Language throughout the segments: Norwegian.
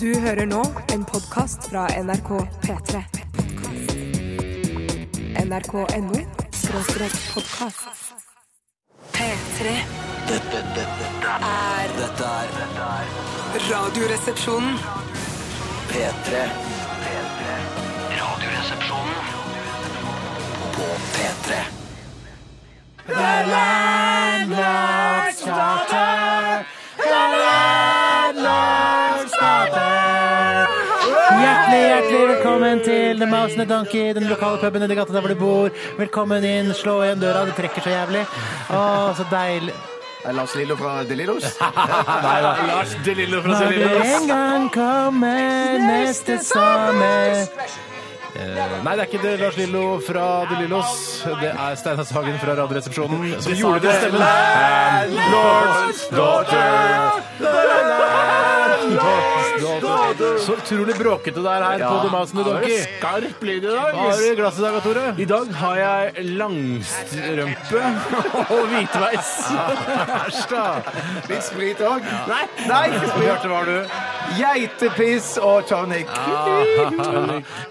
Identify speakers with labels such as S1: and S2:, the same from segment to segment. S1: Du hører nå en podkast fra NRK P3. NRK.no skråstrek podkast. P3
S2: Dette, dette, dette,
S1: er
S2: dette er
S1: Radioresepsjonen.
S2: P3 P3 Radioresepsjonen På P3
S3: Hjertelig, hjertelig velkommen til The Mouse and the Donkey, den lokale puben i gata der hvor du bor. Velkommen inn, slå igjen døra, det trekker så jævlig. Å, så deilig.
S4: Er Lars Lillo fra Delillos?
S5: Lars DeLillo fra
S3: Når du en gang kommer neste sommer
S5: Nei, det er ikke det, Lars Lillo fra DeLillos. Det er Steinar Sagen fra Radioresepsjonen som gjorde det stemmen. Landlord's daughter. Landlord's daughter. Så utrolig bråkete det er her på The Mouse and the Donkey.
S6: Skarp lyd i dag.
S5: Hva har du i glasset i dag, Tore?
S6: I dag har jeg langstrømpe og hvitveis.
S5: Æsj, da.
S4: Litt sprit òg?
S6: Nei,
S4: Nei, ikke sprit.
S5: Bjarte, hva har du?
S4: Geitepiss og tonic.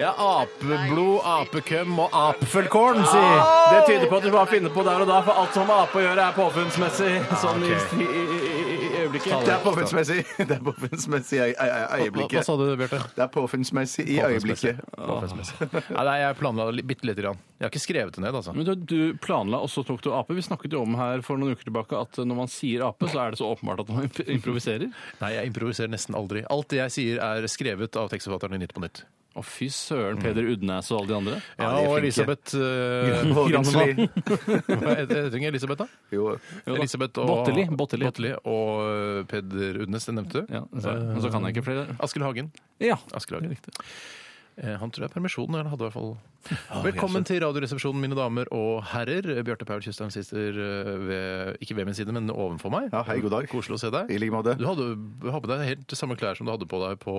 S5: Ja, apeblod, apekøm og apefullkorn, sier
S6: det tyder på at du bare finner på der og da, for alt som har med ape å gjøre, er påfunnsmessig.
S5: Ah,
S6: Sånn i, i, i, i øyeblikket.
S4: Det er påfunnsmessig. Det er påfunnsmessig i øy- øy- øy-
S5: Hva
S4: øyeblikket.
S5: sa du, Bjarte?
S4: Det er påfunnsmessig i øyeblikket.
S5: Ah. Nei, nei, jeg planla li- bitte lite grann. Jeg har ikke skrevet det ned, altså.
S6: Men du, du planla, og så tok du ape. Vi snakket jo om her for noen uker tilbake at når man sier ape, så er det så åpenbart at man imp- improviserer.
S5: Nei, jeg improviserer nesten aldri. Alt det jeg sier, er skrevet av tekstforfatteren i Nytt på Nytt.
S6: Å, fy søren, Peder Udnæs og alle de andre.
S5: Ja,
S4: de er
S5: og
S4: flinke.
S5: Elisabeth eh,
S4: Vågensli.
S5: Grannemann. Hva het- Heter hun ikke Elisabeth, da?
S4: Jo.
S6: Jo da.
S5: Elisabeth og
S6: Botteli. Botteli.
S5: Botteli og eh, Peder Udnes, den nevnte.
S6: Ja, så, men så kan jeg ikke flere.
S5: Askild Hagen.
S6: Ja,
S5: Askild
S6: det er
S5: Hagen.
S6: riktig.
S5: Eh, Han tror jeg er permisjon, eller han hadde i hvert fall Velkommen til Radioresepsjonen, mine damer og herrer. Bjarte Paul Tjøstheim sitter eh, ved, ikke ved min side, men ovenfor meg.
S4: Ja, hei, god dag.
S5: Koselig å se deg.
S4: I like måte.
S5: Du hadde, har på deg helt samme klær som du hadde på deg på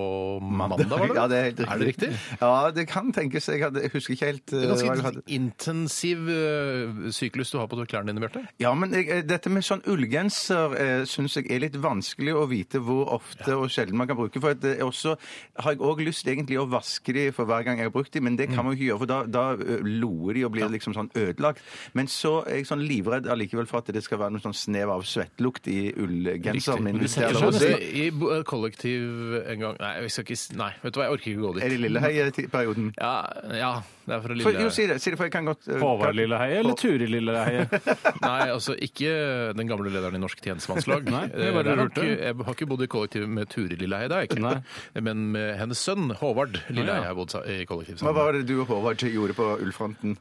S5: mandag, var det?
S4: Ja, det er helt riktig.
S5: Er det riktig?
S4: Ja, det kan tenkes. Jeg, hadde, jeg husker ikke helt uh,
S5: Det er
S4: hva jeg
S5: ganske
S4: hadde.
S5: intensiv eh, syklus du har på klærne dine, Bjarte.
S4: Ja, men jeg, eh, dette med sånn ullgenser eh, syns jeg er litt vanskelig å vite hvor ofte og sjelden man kan bruke. For at eh, også har jeg òg lyst egentlig å vaske de for hver gang jeg har brukt de, men det
S5: Mm.
S4: kan man jo ikke gjøre, for da, da eh, loer de og blir liksom sånn ødelagt. Men så er jeg sånn livredd allikevel for at det skal være noe sånn snev av svettlukt i ullgenseren min.
S5: Men du sånn
S4: hvis det er
S5: setter
S4: lov å
S5: seg
S4: si.
S5: nesten i bo- eh, kollektiv en gang Nei, jeg skal ikke, s- nei, vet du hva, jeg orker ikke gå
S4: Er
S5: dit.
S4: det Lilleheie-perioden?
S5: Ja, ja, det er
S4: For,
S5: fra
S4: jo,
S5: Lille...
S4: si det, si det, for jeg kan godt eh,
S6: Håvard
S4: kan-
S6: Lilleheie eller Turi Lilleheie?
S5: Nei, altså ikke den gamle lederen i Norsk tjenestemannslag.
S6: Nei, det
S5: Eh,
S6: var
S5: jeg, har
S6: rart,
S5: ikke,
S6: det.
S5: jeg har ikke bodd i kollektiv med Turi Lilleheie, det har jeg ikke.
S6: Nei.
S5: Men med hennes sønn Håvard
S6: Å,
S5: Lilleheie
S6: ja.
S5: har jeg bodd sa- i kollektiv
S4: Hva
S5: sammen.
S4: var det du og Håvard gjorde på ullfronten?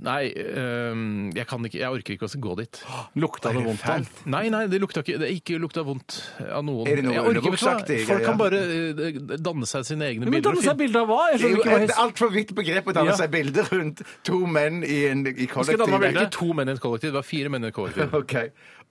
S5: Nei, øhm, jeg kan ikke Jeg orker ikke å gå dit.
S6: Lukta det vondt av?
S5: Nei, nei, det lukta ikke Det er ikke lukta vondt av noen.
S4: Er det noe
S5: Jeg orker ikke, vet du hva?
S4: underbuksaktig
S5: Folk
S4: greie?
S5: kan bare eh, danne seg sine egne
S6: Men
S5: bilder.
S6: danne
S5: og
S6: seg
S5: finne-
S6: bilde av hva?
S4: Det
S6: Jeg
S4: er
S6: skjønner
S4: jo
S6: ikke hva
S4: et
S6: jeg-
S4: altfor vidt begrep å danne
S6: Ja.
S4: seg bilder rundt to menn i, en, i
S5: Skal jeg danne meg
S4: kollektiv.
S5: bilde? Det er ikke to menn i et kollektiv, det var fire menn i et kollektiv.
S4: Ok,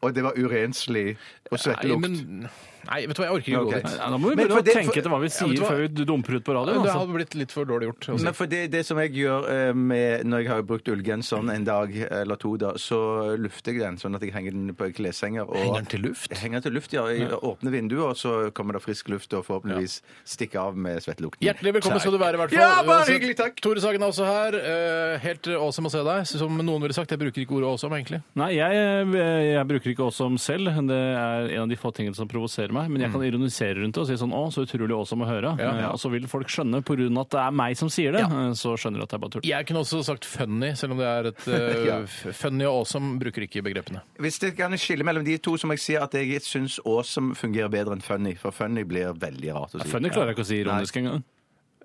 S4: Og det var urenslig og
S5: Nei,
S4: svettelukt.
S5: men, nei, vet du hva, jeg orker ikke
S4: Ok.
S5: gå dit.
S6: Nei, da må vi
S4: Men
S6: begynne
S4: for
S6: å
S4: det-
S6: tenke
S4: for-
S6: etter hva vi
S5: Ja, vet
S6: sier
S5: du hva?
S6: før vi dumper ut på radio.
S5: Det
S6: Altså.
S5: hadde blitt litt for dårlig gjort. å si.
S4: Men for det, det som jeg gjør eh, med, når jeg har brukt ullgenseren en dag eller to, da, så lufter jeg den sånn at jeg henger den på kleshenger. og-
S5: Henger den til luft?
S4: Jeg Henger den til luft, ja. Jeg åpner vinduet, og så kommer det frisk luft og forhåpentligvis stikker av med svettelukten.
S5: Hjertelig velkommen skal du være, i hvert fall.
S4: Ja, bare
S5: Uansett,
S4: hyggelig, takk.
S5: Tore Sagen er også her. eh, Helt awesome å se deg. Som noen ville sagt, jeg bruker ikke ordet awesome, egentlig.
S6: Nei, jeg, jeg bruker ikke awesome selv. Det er en av de få tingene som provoserer meg. Men jeg kan ironisere rundt det og si sånn 'Å, så utrolig awesome å høre'.
S5: Ja, ja.
S6: Eh, Og så vil folk skjønne, på grunn av at det er meg som sier det, eh, så skjønner de at det er bare tull.
S5: Jeg kunne også sagt funny, selv om det er et eh,
S4: Ja.
S5: f- Funny og awesome bruker ikke begrepene.
S4: Hvis det kan skille mellom de to, så må jeg si at jeg syns awesome fungerer bedre enn funny, for funny blir veldig rart å si.
S6: Funny klarer jeg ikke å si ironisk engang.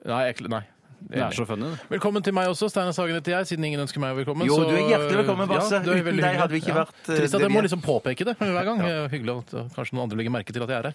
S5: Nei, jeg, nei.
S6: Det er så funny. det.
S5: Velkommen til meg også, Steinar Sagen heter jeg, siden ingen ønsker meg velkommen.
S4: Jo, du er hjertelig velkommen, Basse.
S5: du er
S4: Uten
S5: veldig
S4: deg
S5: hyggelig.
S4: hadde vi ikke vært, eh,
S5: Trist
S4: det
S5: at jeg
S4: vi
S5: må
S4: er.
S5: liksom påpeke det hver gang. Eh, Hyggelig at eh, kanskje noen andre legger merke til at jeg er her.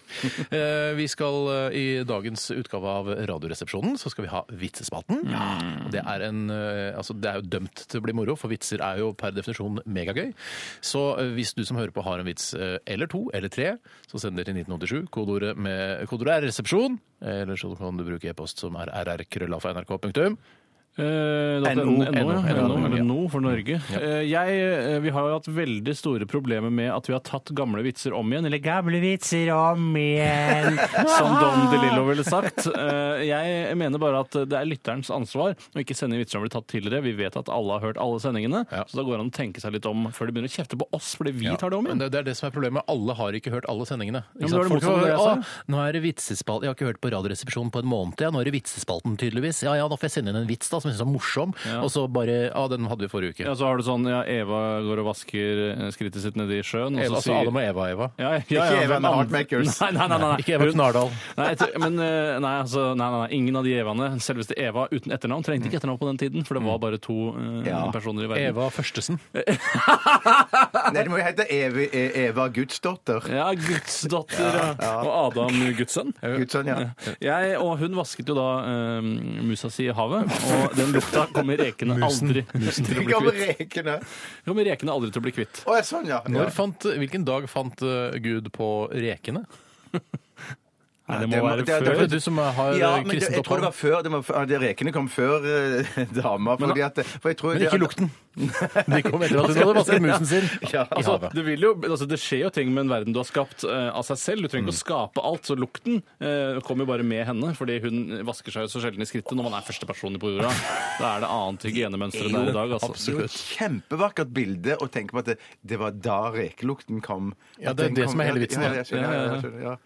S5: Eh, Vi skal eh, i dagens utgave av Radioresepsjonen, så skal vi ha Vitsespalten.
S4: Mm.
S5: Og Det er, en, eh, altså, det er jo dømt til å bli moro, for vitser er jo per definisjon megagøy. Så eh, hvis du som hører på har en vits eh, eller to eller tre, så send det til 1987. Kodeordet, med, kodeordet er resepsjon, eller så kan du bruke e-post som er rrkrølla fra nrk.no.
S6: Eh, da-
S4: NO,
S6: ja.
S5: NO,
S6: NO,
S5: ja.
S6: eller NO for Norge. Eh, jeg, eh, vi har jo hatt veldig store problemer med at vi har tatt gamle vitser om igjen, eller
S3: Gamle vitser om igjen.
S6: som Don DeLillo ville sagt. Eh, Jeg mener bare at det er lytterens ansvar å ikke sende vitser som blir tatt tidligere. Vi vet at alle har hørt alle sendingene,
S5: Ja.
S6: så da går det an å tenke seg litt om før de begynner å kjefte på oss fordi vi tar det om
S5: Men
S6: igjen.
S5: det, det er det som er problemet. Alle har ikke hørt alle sendingene.
S6: Ja, men da er sånn.»
S5: Ikke sant?
S6: det
S5: Folk
S6: motsatt av det jeg
S5: «Å, nå er det vitsespalten. Jeg har ikke hørt på Radioresepsjonen på en måned. Ja. Nå er det vitsespalten, tydeligvis. Ja ja, da får jeg sende inn en vits da, som jeg syns er morsom. Og så bare Ja, den hadde vi forrige uke.
S6: Ja, så har du sånn ja, Eva går og vasker eh, skrittet sitt nedi sjøen, og
S5: Eva,
S6: så
S5: altså
S6: sier
S5: Adam og Eva, Eva.
S6: ja, ja, ja,
S4: Ikke Eva
S6: hvem
S4: med
S6: andre-
S4: Heartmakers.
S6: Nei, nei, nei, nei, nei.
S5: Ikke Eva
S6: Hun-
S5: Knardal.
S6: Nei, jeg tror- men, eh, nei, altså, nei, nei, nei, ingen av de Evaene. Selveste Eva uten etternavn trengte ikke etternavn på den tiden, for det var bare to eh,
S4: Mm. Ja.
S6: personer i verden.
S5: Eva Førstesen.
S4: Nei, det må jo hete Evi, E- Eva Gudsdotter.
S6: Ja, Guds datter ja. og Adam Guds sønn.
S4: Gudsson, ja.
S6: Jeg og hun vasket jo da eh, musa si i havet, og den lukta kommer rekene aldri til å
S4: Det
S6: bli
S4: kommer
S6: kvitt.
S4: rekene.
S6: Kommer rekene aldri til å bli kvitt.
S4: Å, ja, sånn, ja. ja.
S5: Når fant, hvilken dag fant eh, Gud på rekene?
S6: Nei, det
S4: det
S6: må
S4: må-
S6: være
S4: det er-
S5: Det er
S6: før.
S5: du som har
S4: Ja,
S5: ja,
S4: men det,
S5: kristent
S4: jeg tror det var
S5: opphav.
S4: før det var, før- de Rekene kom før eh, dama. Fordi at, for jeg tror
S5: Men ikke lukten. De kom etter at hun hadde vasket musen sin
S4: Ja,
S5: i
S6: Altså,
S5: havet.
S6: det, vil jo, altså, det skjer jo ting med en verden du har skapt eh, av seg selv. Du trenger
S5: Mm.
S6: ikke å skape alt, så lukten eh, kommer jo bare med henne. Fordi hun vasker seg jo så sjelden i skrittet når man er første person på jorda. Da er det annet hygienemønster enn det er i dag. Altså.
S4: Det er jo et kjempevakkert bilde å tenke på at det, det var da rekelukten kom.
S5: Ja,
S4: At
S5: det er
S4: den
S5: det
S4: kom-
S5: som er hele
S4: ja,
S5: vitsen,
S4: Ja,
S5: ja.
S4: jeg skjønner, ja, jeg skjønner, ja.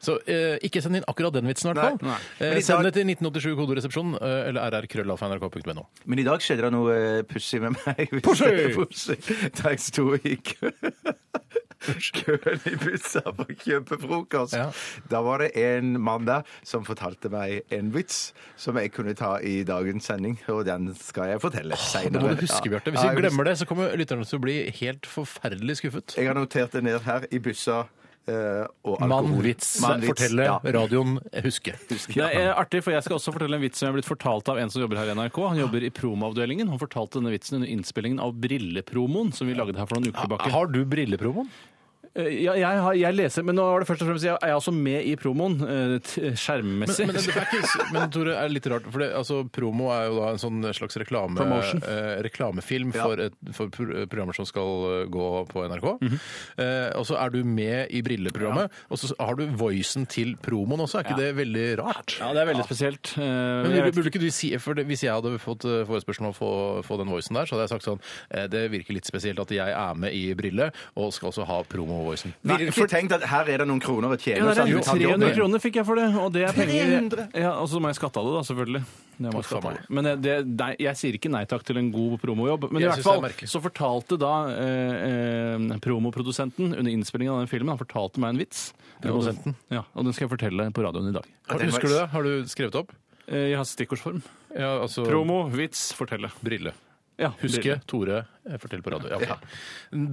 S5: Så eh, ikke send inn akkurat den vitsen, i
S4: Nei,
S5: hvert fall.
S4: nei.
S5: Eh,
S4: Men i
S5: send
S4: dag-
S5: det til 1987-kodoresepsjonen eh, eller rrkrøllalfa.nrk.no.
S4: Men i dag skjedde det noe eh, pussig med meg.
S5: Pussig!
S4: Pussig. Da jeg sto i kø. køen i busser for å kjøpe frokost.
S5: Ja.
S4: Da var det en mann der som fortalte meg en vits som jeg kunne ta i dagens sending, og den skal jeg fortelle
S5: Det
S4: senere.
S5: må du huske, Bjarte. Hvis
S4: Ja,
S5: vi
S4: jeg
S5: glemmer det, så kommer lytterne til å bli helt forferdelig skuffet.
S4: Jeg har notert det ned her i bussa eh, og alkohol.
S5: Mannvits.
S4: Mannvits,
S5: Fortelle
S4: ja.
S5: radioen eh, huske.
S6: Det er artig, for Jeg skal også fortelle en vits som jeg er blitt fortalt av en som jobber her i NRK. Han jobber i promoavdelingen. Han fortalte denne vitsen under innspillingen av Brillepromoen, som vi lagde her for noen uker tilbake.
S5: Har du brillepromoen?
S6: Eh, Ja, jeg, har, jeg leser, men nå var det først og fremst jeg er jeg også med i promoen, eh, t-
S5: Men,
S6: skjermmessig.
S5: men, det er ikke, s- men Tore, er det litt rart, for det, altså, promo er jo da en sånn slags reklame,
S6: Promotion.
S5: eh, reklamefilm for, et, for pro programmer som skal eh, gå på NRK. eh, og så er du med i brilleprogrammet, og så har du voicen til promoen også. Er ikke det veldig rart?
S6: ja, det er veldig spesielt. Eh,
S5: Men
S6: jeg
S5: burde,
S6: vet-
S5: burde ikke du si, for det, Hvis jeg hadde fått eh, forespørsel om å få, få den voicen der, så hadde jeg sagt sånn eh, Det virker litt spesielt at jeg er med i Brille og skal også ha promo-voicen.
S4: Ville du ikke tenkt at her er det noen kroner å
S6: Ja,
S4: tjene?
S6: det er
S4: så
S6: jo
S4: hadde du tatt jobben?
S6: 300 kroner fikk jeg for det, og det er penger.
S4: 300?
S6: Ja, og så må jeg skatte av det, da, selvfølgelig. Det må jeg
S5: Uff,
S6: skatte av
S5: meg.
S6: det. Men det, nei, jeg sier ikke nei takk til en god promojobb. Men i
S5: Jeg
S6: hvert
S5: synes det er
S6: fall
S5: merkelig.
S6: så fortalte da eh, eh, promoprodusenten under innspillingen av den filmen, han fortalte meg en vits.
S5: Produsenten?
S6: Ja, og den skal jeg fortelle på radioen i dag.
S5: Har,
S4: den var-
S5: husker du det? Har du skrevet opp?
S6: Eh, Jeg har stikkordsform.
S5: Ja, altså
S6: Promo, vits, fortelle.
S5: Brille.
S6: Ja,
S5: Huske Tore eh, fortell på radio. Ja, ok.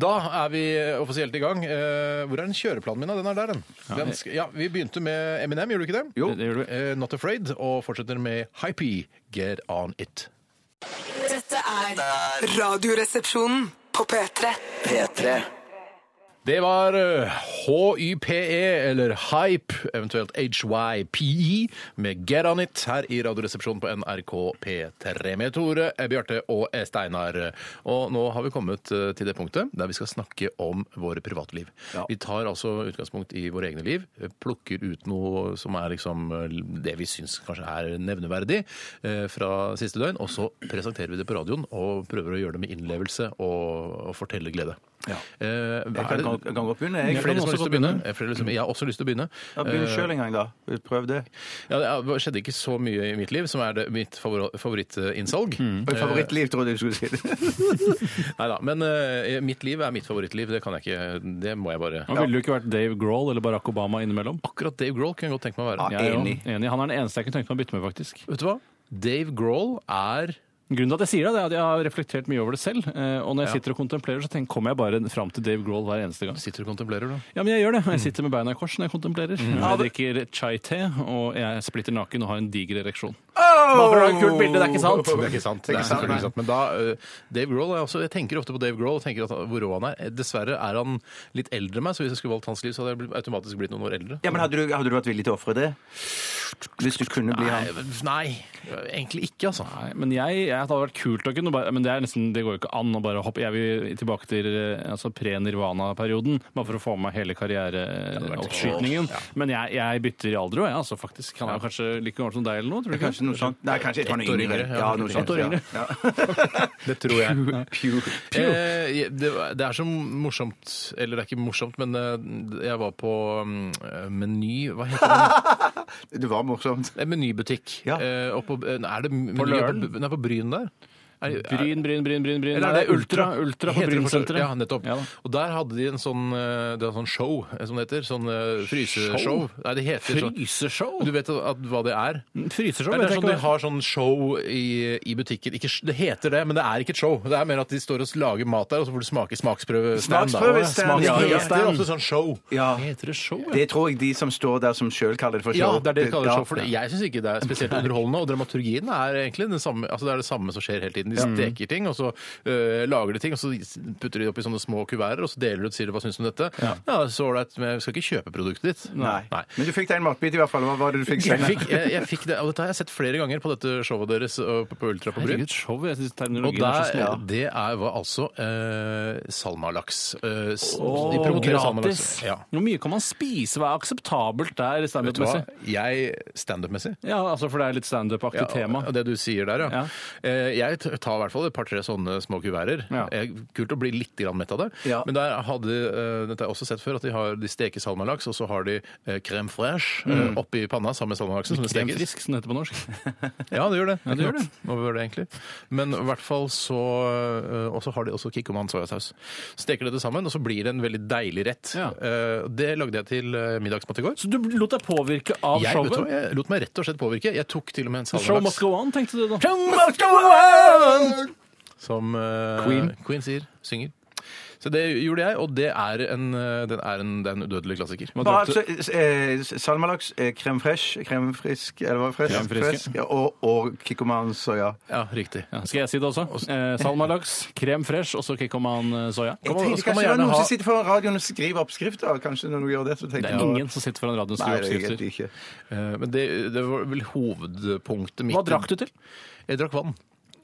S5: Da er vi eh, offisielt i gang. Eh, Hvor er den kjøreplanen min? da? Den er der, den. den sk- ja, vi begynte med Eminem, gjorde du ikke det?
S4: Jo.
S6: Det gjør du.
S5: Eh, Not Afraid, og fortsetter med Hypey, Get On It.
S1: Dette er Radioresepsjonen på P3.
S2: P3.
S5: Det var eh, HYPE, E, eller Hype, eventuelt HYPE, E, med Get On It her i Radioresepsjonen på NRK P3 med Tore, eh, Bjarte og eh, Steinar. Og nå har vi kommet eh, til det punktet der vi skal snakke om våre privatliv. Vi tar altså utgangspunkt i våre egne liv, eh, plukker ut noe som er liksom eh, det vi syns kanskje er nevneverdig eh, fra siste døgn, og så presenterer vi det på radioen og prøver å gjøre det med innlevelse og, og fortellerglede.
S4: Ja.
S5: Eh, hva
S4: Jeg kan
S5: er det-
S4: gang- gange opp under, jeg.
S5: Er det flere som har lyst til å begynne?
S6: begynne.
S5: Er det flere som- Jeg har også lyst til å begynne. Eh,
S4: Ja, Begynn sjøl en gang, da. Prøv det.
S5: Ja, det er- skjedde ikke så mye i mitt liv, som er det, mitt favor- favorittinnsalg.
S4: Og i favorittliv, trodde jeg du skulle si. det.
S5: Nei da. Men eh, mitt liv er mitt favorittliv. Det kan jeg ikke Det må jeg bare
S6: Men ville du ikke vært Dave Grohl eller Barack Obama innimellom?
S5: Akkurat Dave Grohl kunne jeg godt tenke meg å være.
S4: Ja.
S6: Jeg er jo
S4: Enig.
S6: enig. Han er den eneste jeg kunne tenkt meg å bytte med, faktisk.
S5: Vet du hva? Dave Grohl er
S6: Grunnen til at jeg sier det, det er at jeg har reflektert mye over det selv. eh, Og når jeg sitter og kontemplerer, så tenker, kommer jeg bare fram til Dave Grohl hver eneste gang.
S5: Sitter og kontemplerer, da.
S6: Ja, men jeg gjør det. Jeg sitter med Mm. beina i kors når jeg kontemplerer. Jeg drikker chai-te, og jeg splitter naken og har en diger ereksjon.
S4: Å,
S6: Bare for å ha et kult bilde, det er ikke sant.
S5: Det er ikke sant. Det er
S4: ikke sant,
S5: selvfølgelig
S4: nei.
S5: ikke sant. Men da, eh, Dave Grohl er også, Jeg tenker ofte på Dave Grohl og tenker at han- hvor rå han er. Eh, Dessverre er han litt eldre enn meg, så hvis jeg skulle valgt hans liv, så hadde jeg blitt- automatisk blitt noen år eldre.
S4: Ja, men hadde du, hadde du vært villig til å ofre det? Hvis du kunne bli
S5: Nei,
S4: han?
S5: men- nei, egentlig ikke, altså.
S6: Nei, men jeg, jeg hadde vært kult å kunne bare Men det, er nesten, det går jo ikke an å bare hoppe Jeg vil tilbake til eh, altså, pre-nirvana-perioden, bare for å få med meg hele karriereoppskytningen. Men jeg, jeg bytter i alder òg, jeg. Altså, faktisk. Han er jo kanskje like gammel som deg eller noe, tror du ikke?
S4: Kanskje noe sånt? Nei, kanskje et par
S5: Ett år yngre, ja.
S4: Ja, noe sånt.
S5: Ett år
S4: ja.
S5: yngre.
S4: Ja.
S5: Det tror jeg.
S4: Pew.
S5: Eh, det, det er så morsomt Eller det er ikke morsomt, men eh, jeg var på mm, Meny Hva heter det?
S4: Det var morsomt.
S5: En menybutikk.
S4: Ja.
S5: Eh, oppå, eh, er det Meny
S6: Løren?
S5: oppe- Nei, på Bryn der. Er,
S6: Bryn, Bryn, Bryn, Bryn. bryn.
S5: Eller er det Ultra?
S6: Ultra på
S5: Heter det fortsatt-
S6: Brynsenteret.
S5: Ja, nettopp.
S6: Ja da.
S5: og der hadde de en sånn, eh, det er sånn show, eh, som det heter. Sånn eh, fryseshow.
S6: Show?
S5: Nei, det heter sånn.
S6: Fryseshow?
S5: Du vet at, at hva det er?
S6: Fryseshow?
S5: Nei,
S6: vet
S5: det er
S6: jeg
S5: sånn De
S6: ikke hva
S5: har sånn show i, i butikken. Ikke, sh- det heter det, men det er ikke et show. Det er mer at de står og lager mat der, og så får du smake smaksprøvestand. da.
S4: Smaksprøvestand, ja,
S5: Ja, det
S4: ja.
S5: heter ofte sånn show.
S4: Ja.
S5: Heter det show?
S4: Det tror jeg de som står der som sjøl kaller det for
S5: Ja,
S4: show.
S5: det er det de kaller
S4: Ja.
S5: show. For det. jeg syns ikke det er spesielt underholdende. Og dramaturgien er egentlig den samme, altså det er det samme som skjer hele tiden. De
S4: Mm.
S5: steker ting, og så øh, lager de ting, og så putter de opp i sånne små kuverter, og så deler de ut og sier hva syns du om dette. Ja, så ålreit, men vi skal ikke kjøpe produktet ditt.
S4: Nei. Men du fikk deg en matbit i hvert fall. Hva var det du fikk?
S5: Jeg
S4: Steinar?
S5: fikk, jeg, jeg fikk det, og dette har jeg sett flere ganger på dette showet deres øh, på Ultra på Bryn.
S6: Herregud, show. Jeg syns
S5: Og
S6: terminologien
S5: der,
S6: er så snedig.
S5: Det er, var altså eh, salmalaks. Eh, s-
S6: Åh,
S5: de promoterer salmalaks.
S6: gratis.
S5: Ja.
S6: Hvor mye kan man spise? Hva er akseptabelt der
S5: Vet du hva?
S6: standup-messig?
S5: Jeg standup-messig
S6: Ja, altså, for det er litt standup-aktig
S5: Ja,
S6: tema.
S5: og Det du sier der, ja.
S6: Ja.
S5: Eh, Jeg t- tar i hvert fall et par-tre sånne små kuverter.
S6: Ja.
S5: Eh, Kult å bli litt grann mett av det.
S4: Ja.
S5: Men der hadde, eh, dette har jeg også sett før, at de, har, de steker salmalaks, og så har de eh, crème fraîche eh,
S6: Mm.
S5: oppi panna sammen med salmalaksen som det
S6: Krem
S5: stekes.
S6: frisk, som det heter på norsk.
S5: Ja, det gjør det.
S6: det gjør det.
S5: Hva var det egentlig? Men i hvert fall så eh, Og så har de også kikkoman soyasaus. Steker dette sammen, og så blir det en veldig deilig rett.
S6: Ja.
S5: Eh, Det lagde jeg til eh, middagsmat i går.
S6: Så du lot deg påvirke av
S5: Jeg, vet du, hva,
S6: showet?
S5: jeg lot meg rett og slett påvirke. Jeg tok til og med en
S6: The Show must
S5: salmalaks.
S6: go on, tenkte du da.
S5: Som eh,
S6: Queen.
S5: Queen sier, synger. Så det gjorde jeg, og det er en, eh, den er en, det er en udødelig klassiker.
S4: Bare, altså, eh, salmalaks, eh, crème fraîche, crème frisk, eller hva fresh,
S6: Crème frisk,
S4: Fresh, ja, og, og kikkoman soya.
S5: Ja, riktig.
S6: Ja, skal jeg si det også? Eh, salmalaks, krem fresh og så kikkoman eh, soya.
S4: Jeg
S5: man-
S4: tenker kanskje det
S5: skal man
S4: er
S5: gjerne
S4: noen
S5: ha-
S4: som sitter foran radioen og skriver oppskrifter. Kanskje når du gjør det, så tenker
S6: Det
S4: jeg-
S6: er ingen som sitter foran radioen og
S4: Nei,
S6: skriver
S4: det er
S6: oppskrifter.
S4: egentlig ikke.
S5: Eh, Men det, det var vel hovedpunktet mitt.
S6: Hva drakk du til?
S5: Jeg drakk vann.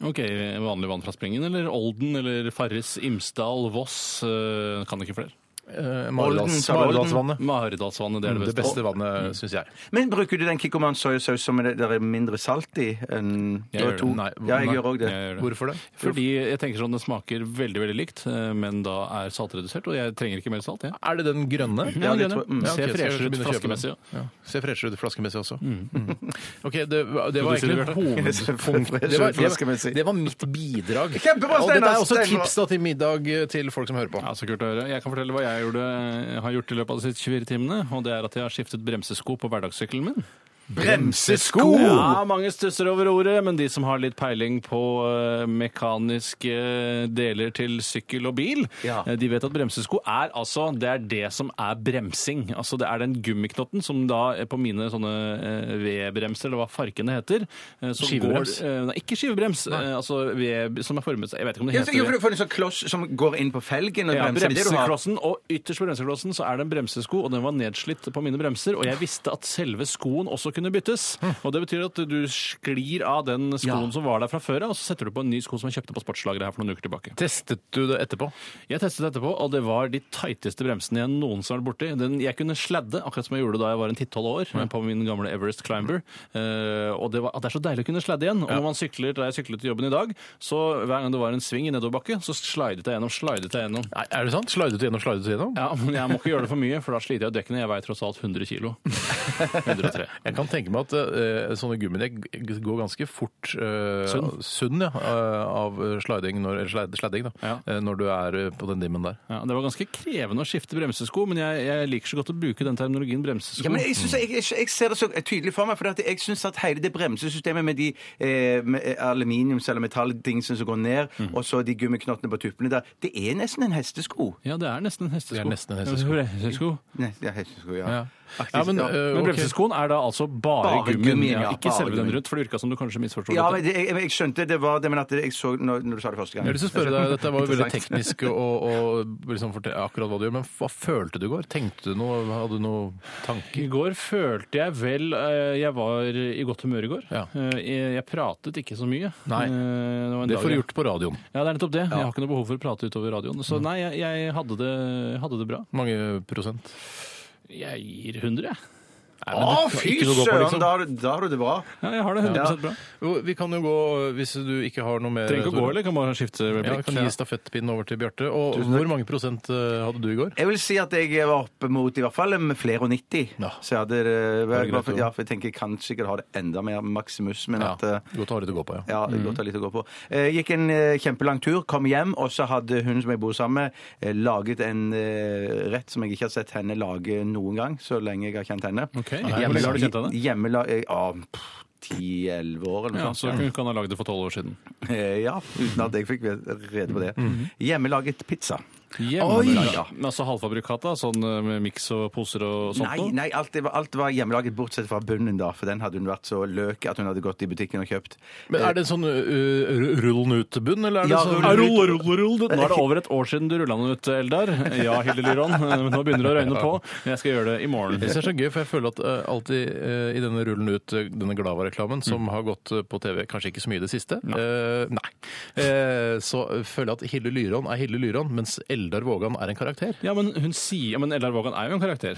S6: Ok, Vanlig vann fra springen, eller Olden, eller Farris, Imsdal, Voss eh, Kan ikke flere.
S5: Eh,
S4: Olden,
S5: Maridals-
S4: sa du Olden?
S5: Maridalsvannet.
S6: Maridalsvannet, det er det
S5: Det
S6: beste.
S5: beste Mm. vannet, syns jeg.
S4: Men bruker du den kikkoman soyasaus som er det der er mindre salt i enn
S6: Jeg gjør det.
S4: to?
S5: Nei,
S4: ja, jeg
S5: nei.
S4: gjør òg
S6: Jeg
S4: det.
S6: gjør det.
S5: Hvorfor det?
S6: Fordi jeg tenker sånn, det smaker veldig veldig likt, eh, men da er saltredusert. Og jeg trenger ikke mer salt. jeg.
S5: Er det den grønne?
S4: Ja, det tror jeg. Mm.
S5: Ja, ok,
S6: Ser
S5: så jeg
S6: freshere ut
S5: begynner å kjøpe den.
S6: flaskemessig,
S5: Ja. Ser freshere ut flaskemessig også. Mm. OK, det, var- det var
S6: du si det,
S5: egentlig hovedpunkt.
S4: Freshere
S5: Det var,
S4: flaskemessig.
S5: det, var mitt bidrag.
S4: Kjempebra,
S5: Og dette
S4: Steinar,
S5: er også
S4: Steinar.
S5: tips da, til middag eh, til folk som hører på.
S6: Ja, så kult å høre. Jeg kan fortelle hva jeg gjorde, eh, har gjort i løpet av de siste 24 timene. Og det er at jeg har skiftet bremsesko på hverdagssykkelen min.
S5: Bremsesko!
S6: Ja, mange stusser over ordet, men de som har litt peiling på eh, mekaniske eh, deler til sykkel og bil,
S4: Ja.
S6: eh, de vet at bremsesko er altså det er det som er bremsing. Altså det er den gummiknotten som da eh, på mine sånne eh, V-bremser, eller hva farkene heter eh, så
S5: Skivebrems?
S6: Går, eh, nei, ikke skivebrems. eh, Altså V som er formet Jeg vet ikke om det
S4: Ja,
S6: heter
S4: så- Jo, for du får en sånn kloss som går inn på felgen og
S6: ja,
S4: bremser. Det er det du har.
S6: bremseklossen, og ytterst på bremseklossen så er det en bremsesko, og den var nedslitt på mine bremser, og jeg visste at selve skoen også kunne byttes. Og det betyr at du sklir av den skoen som var der fra før, og så setter du på en ny sko som jeg kjøpte på sportslageret her for noen uker tilbake.
S5: Testet du det etterpå?
S6: Jeg testet etterpå, og det var de tighteste bremsene jeg noensinne har vært borti. Den, jeg kunne sladde, akkurat som jeg gjorde da jeg var en 10-12 år, på min gamle Everest Climber. Eh, og det, var, det er så deilig å kunne sladde igjen. Og når man sykler, da jeg syklet til jobben i dag, så hver gang det var en sving i nedoverbakke, så slidet jeg gjennom, slidet jeg gjennom.
S5: Nei, er det sant? Slidet du gjennom, slidet du gjennom?
S6: Ja, men jeg må ikke gjøre det for mye, for da sliter jeg ut dekkene. Jeg veier tross alt 100 kilo. 103.
S5: Jeg kan tenke meg at eh, sånne gummidekk g- går ganske fort eh,
S6: Sunn.
S5: sunn, ja, eh, av sliding, når, eller slide, sladding, da,
S6: Ja.
S5: eh, når du er eh, på den dimmen der.
S6: Ja, det var ganske krevende å skifte bremsesko, men jeg, jeg liker så godt å bruke den terminologien bremsesko.
S4: Ja, men jeg, synes, jeg, jeg, jeg ser det så tydelig for meg, for jeg syns at hele det bremsesystemet med de eh, med eh, aluminiums- eller metalldingsene som går ned, og så de gummiknottene på tuppene der, det er nesten en hestesko.
S6: Ja, det er nesten en hestesko.
S5: Det er nesten en hestesko.
S6: Ja, hestesko.
S4: Nei, det er hestesko, ja.
S5: Ja. Ja, men, øh,
S6: Men
S5: ok.
S6: bremseskoen er da altså bare,
S4: Bare
S6: gummien,
S4: gummien, ja.
S6: ja. ikke
S4: Bare
S6: selve den
S4: gummien.
S6: rundt, for det virka som du kanskje misforsto.
S4: Ja,
S6: dette.
S4: men det, jeg, jeg skjønte det var det, men at det, jeg så når, når du sa det første gang.
S5: Jeg har lyst til å spørre deg, Dette var jo veldig
S4: Interessant.
S5: teknisk, og, og liksom fortell akkurat hva du gjør, men hva følte du i går? Tenkte du noe? Hadde du noen
S6: I
S5: tanker?
S6: går følte jeg vel eh, Jeg var i godt humør i går.
S5: Ja.
S6: Eh, Jeg jeg pratet ikke så mye.
S5: Nei.
S6: Eh, Det, var en
S5: Det
S6: dag
S5: får du
S6: jeg-
S5: gjort på radioen.
S6: Ja, det er nettopp det. Jeg har ikke noe behov for å prate utover radioen. Så nei, jeg, jeg hadde, det, hadde det bra.
S5: Mange prosent?
S6: Jeg gir 100, jeg.
S5: Nei, men
S4: Å,
S5: det-
S4: fy
S5: ikke noe å gå på,
S4: søren!
S5: liksom.
S4: Da, har du- da har du det bra.
S6: Ja, jeg har det 100 bra.
S5: Jo, Vi kan jo gå, hvis du ikke har noe mer
S6: Trenger ikke å gå,
S5: Tore.
S6: eller? Kan bare skifte
S5: Ja, vi
S6: replikk.
S5: kan gi stafettpinnen over til Bjarte. Og hvor mange prosent eh, hadde du i går?
S4: Jeg vil si at jeg var oppe mot i hvert fall med flere og 90.
S5: Ja.
S4: Så jeg hadde, eh,
S5: er greit,
S4: ja, for jeg tenker jeg kan sikkert ha det enda mer maksimus, men
S5: Ja.
S4: at eh,
S5: Godt å ha litt å gå på, ja.
S4: Ja,
S6: Mm.
S4: godt å ha litt å gå på. Eh, gikk en eh, kjempelang tur, kom hjem, og så hadde hun som jeg bor sammen med, eh, laget en eh, rett som jeg ikke har sett henne lage noen gang, så lenge jeg har kjent henne.
S6: Ok.
S4: Hjemmela-
S6: Hvor lenge har du kjent henne?
S4: Hjemmela... eh, Ja, ti-elleve år, eller noe
S6: Ja,
S4: sånt.
S6: så hun kan ha lagd det for tolv år siden.
S4: Eh, Ja, uten at jeg fikk rede på det.
S6: Mm.
S4: Hjemmelaget pizza.
S6: Hjemmelaget.
S4: Ja.
S6: Men altså halvfabrikata, sånn eh, med miks og poser og sånt
S4: Nei,
S6: noe?
S4: nei alt, det var, alt var hjemmelaget bortsett fra bunnen, da. For den hadde hun vært så løk at hun hadde gått i butikken og kjøpt.
S5: Men er det sånn uh, rullen ut-bunn, eller er det
S4: Ja,
S5: sånn
S6: Ja, Rull, rull, rull. Nå er det over et år siden du rulla den ut, Eldar. Ja, Hilde Lyron. Eh, Nå begynner det å røyne på. Jeg skal gjøre det i morgen.
S5: Jeg synes det er så gøy, for jeg føler at eh, alltid eh, i denne rullen ut, eh, denne Glava-reklamen, som har gått eh, på TV kanskje ikke så mye i det siste, eh, nei. Eh, så føler jeg at Hilde Lyron er Hilde Lyron, mens Eldar Vågan er en karakter.
S6: Ja, men hun sier ja, men Eldar Vågan er jo en karakter.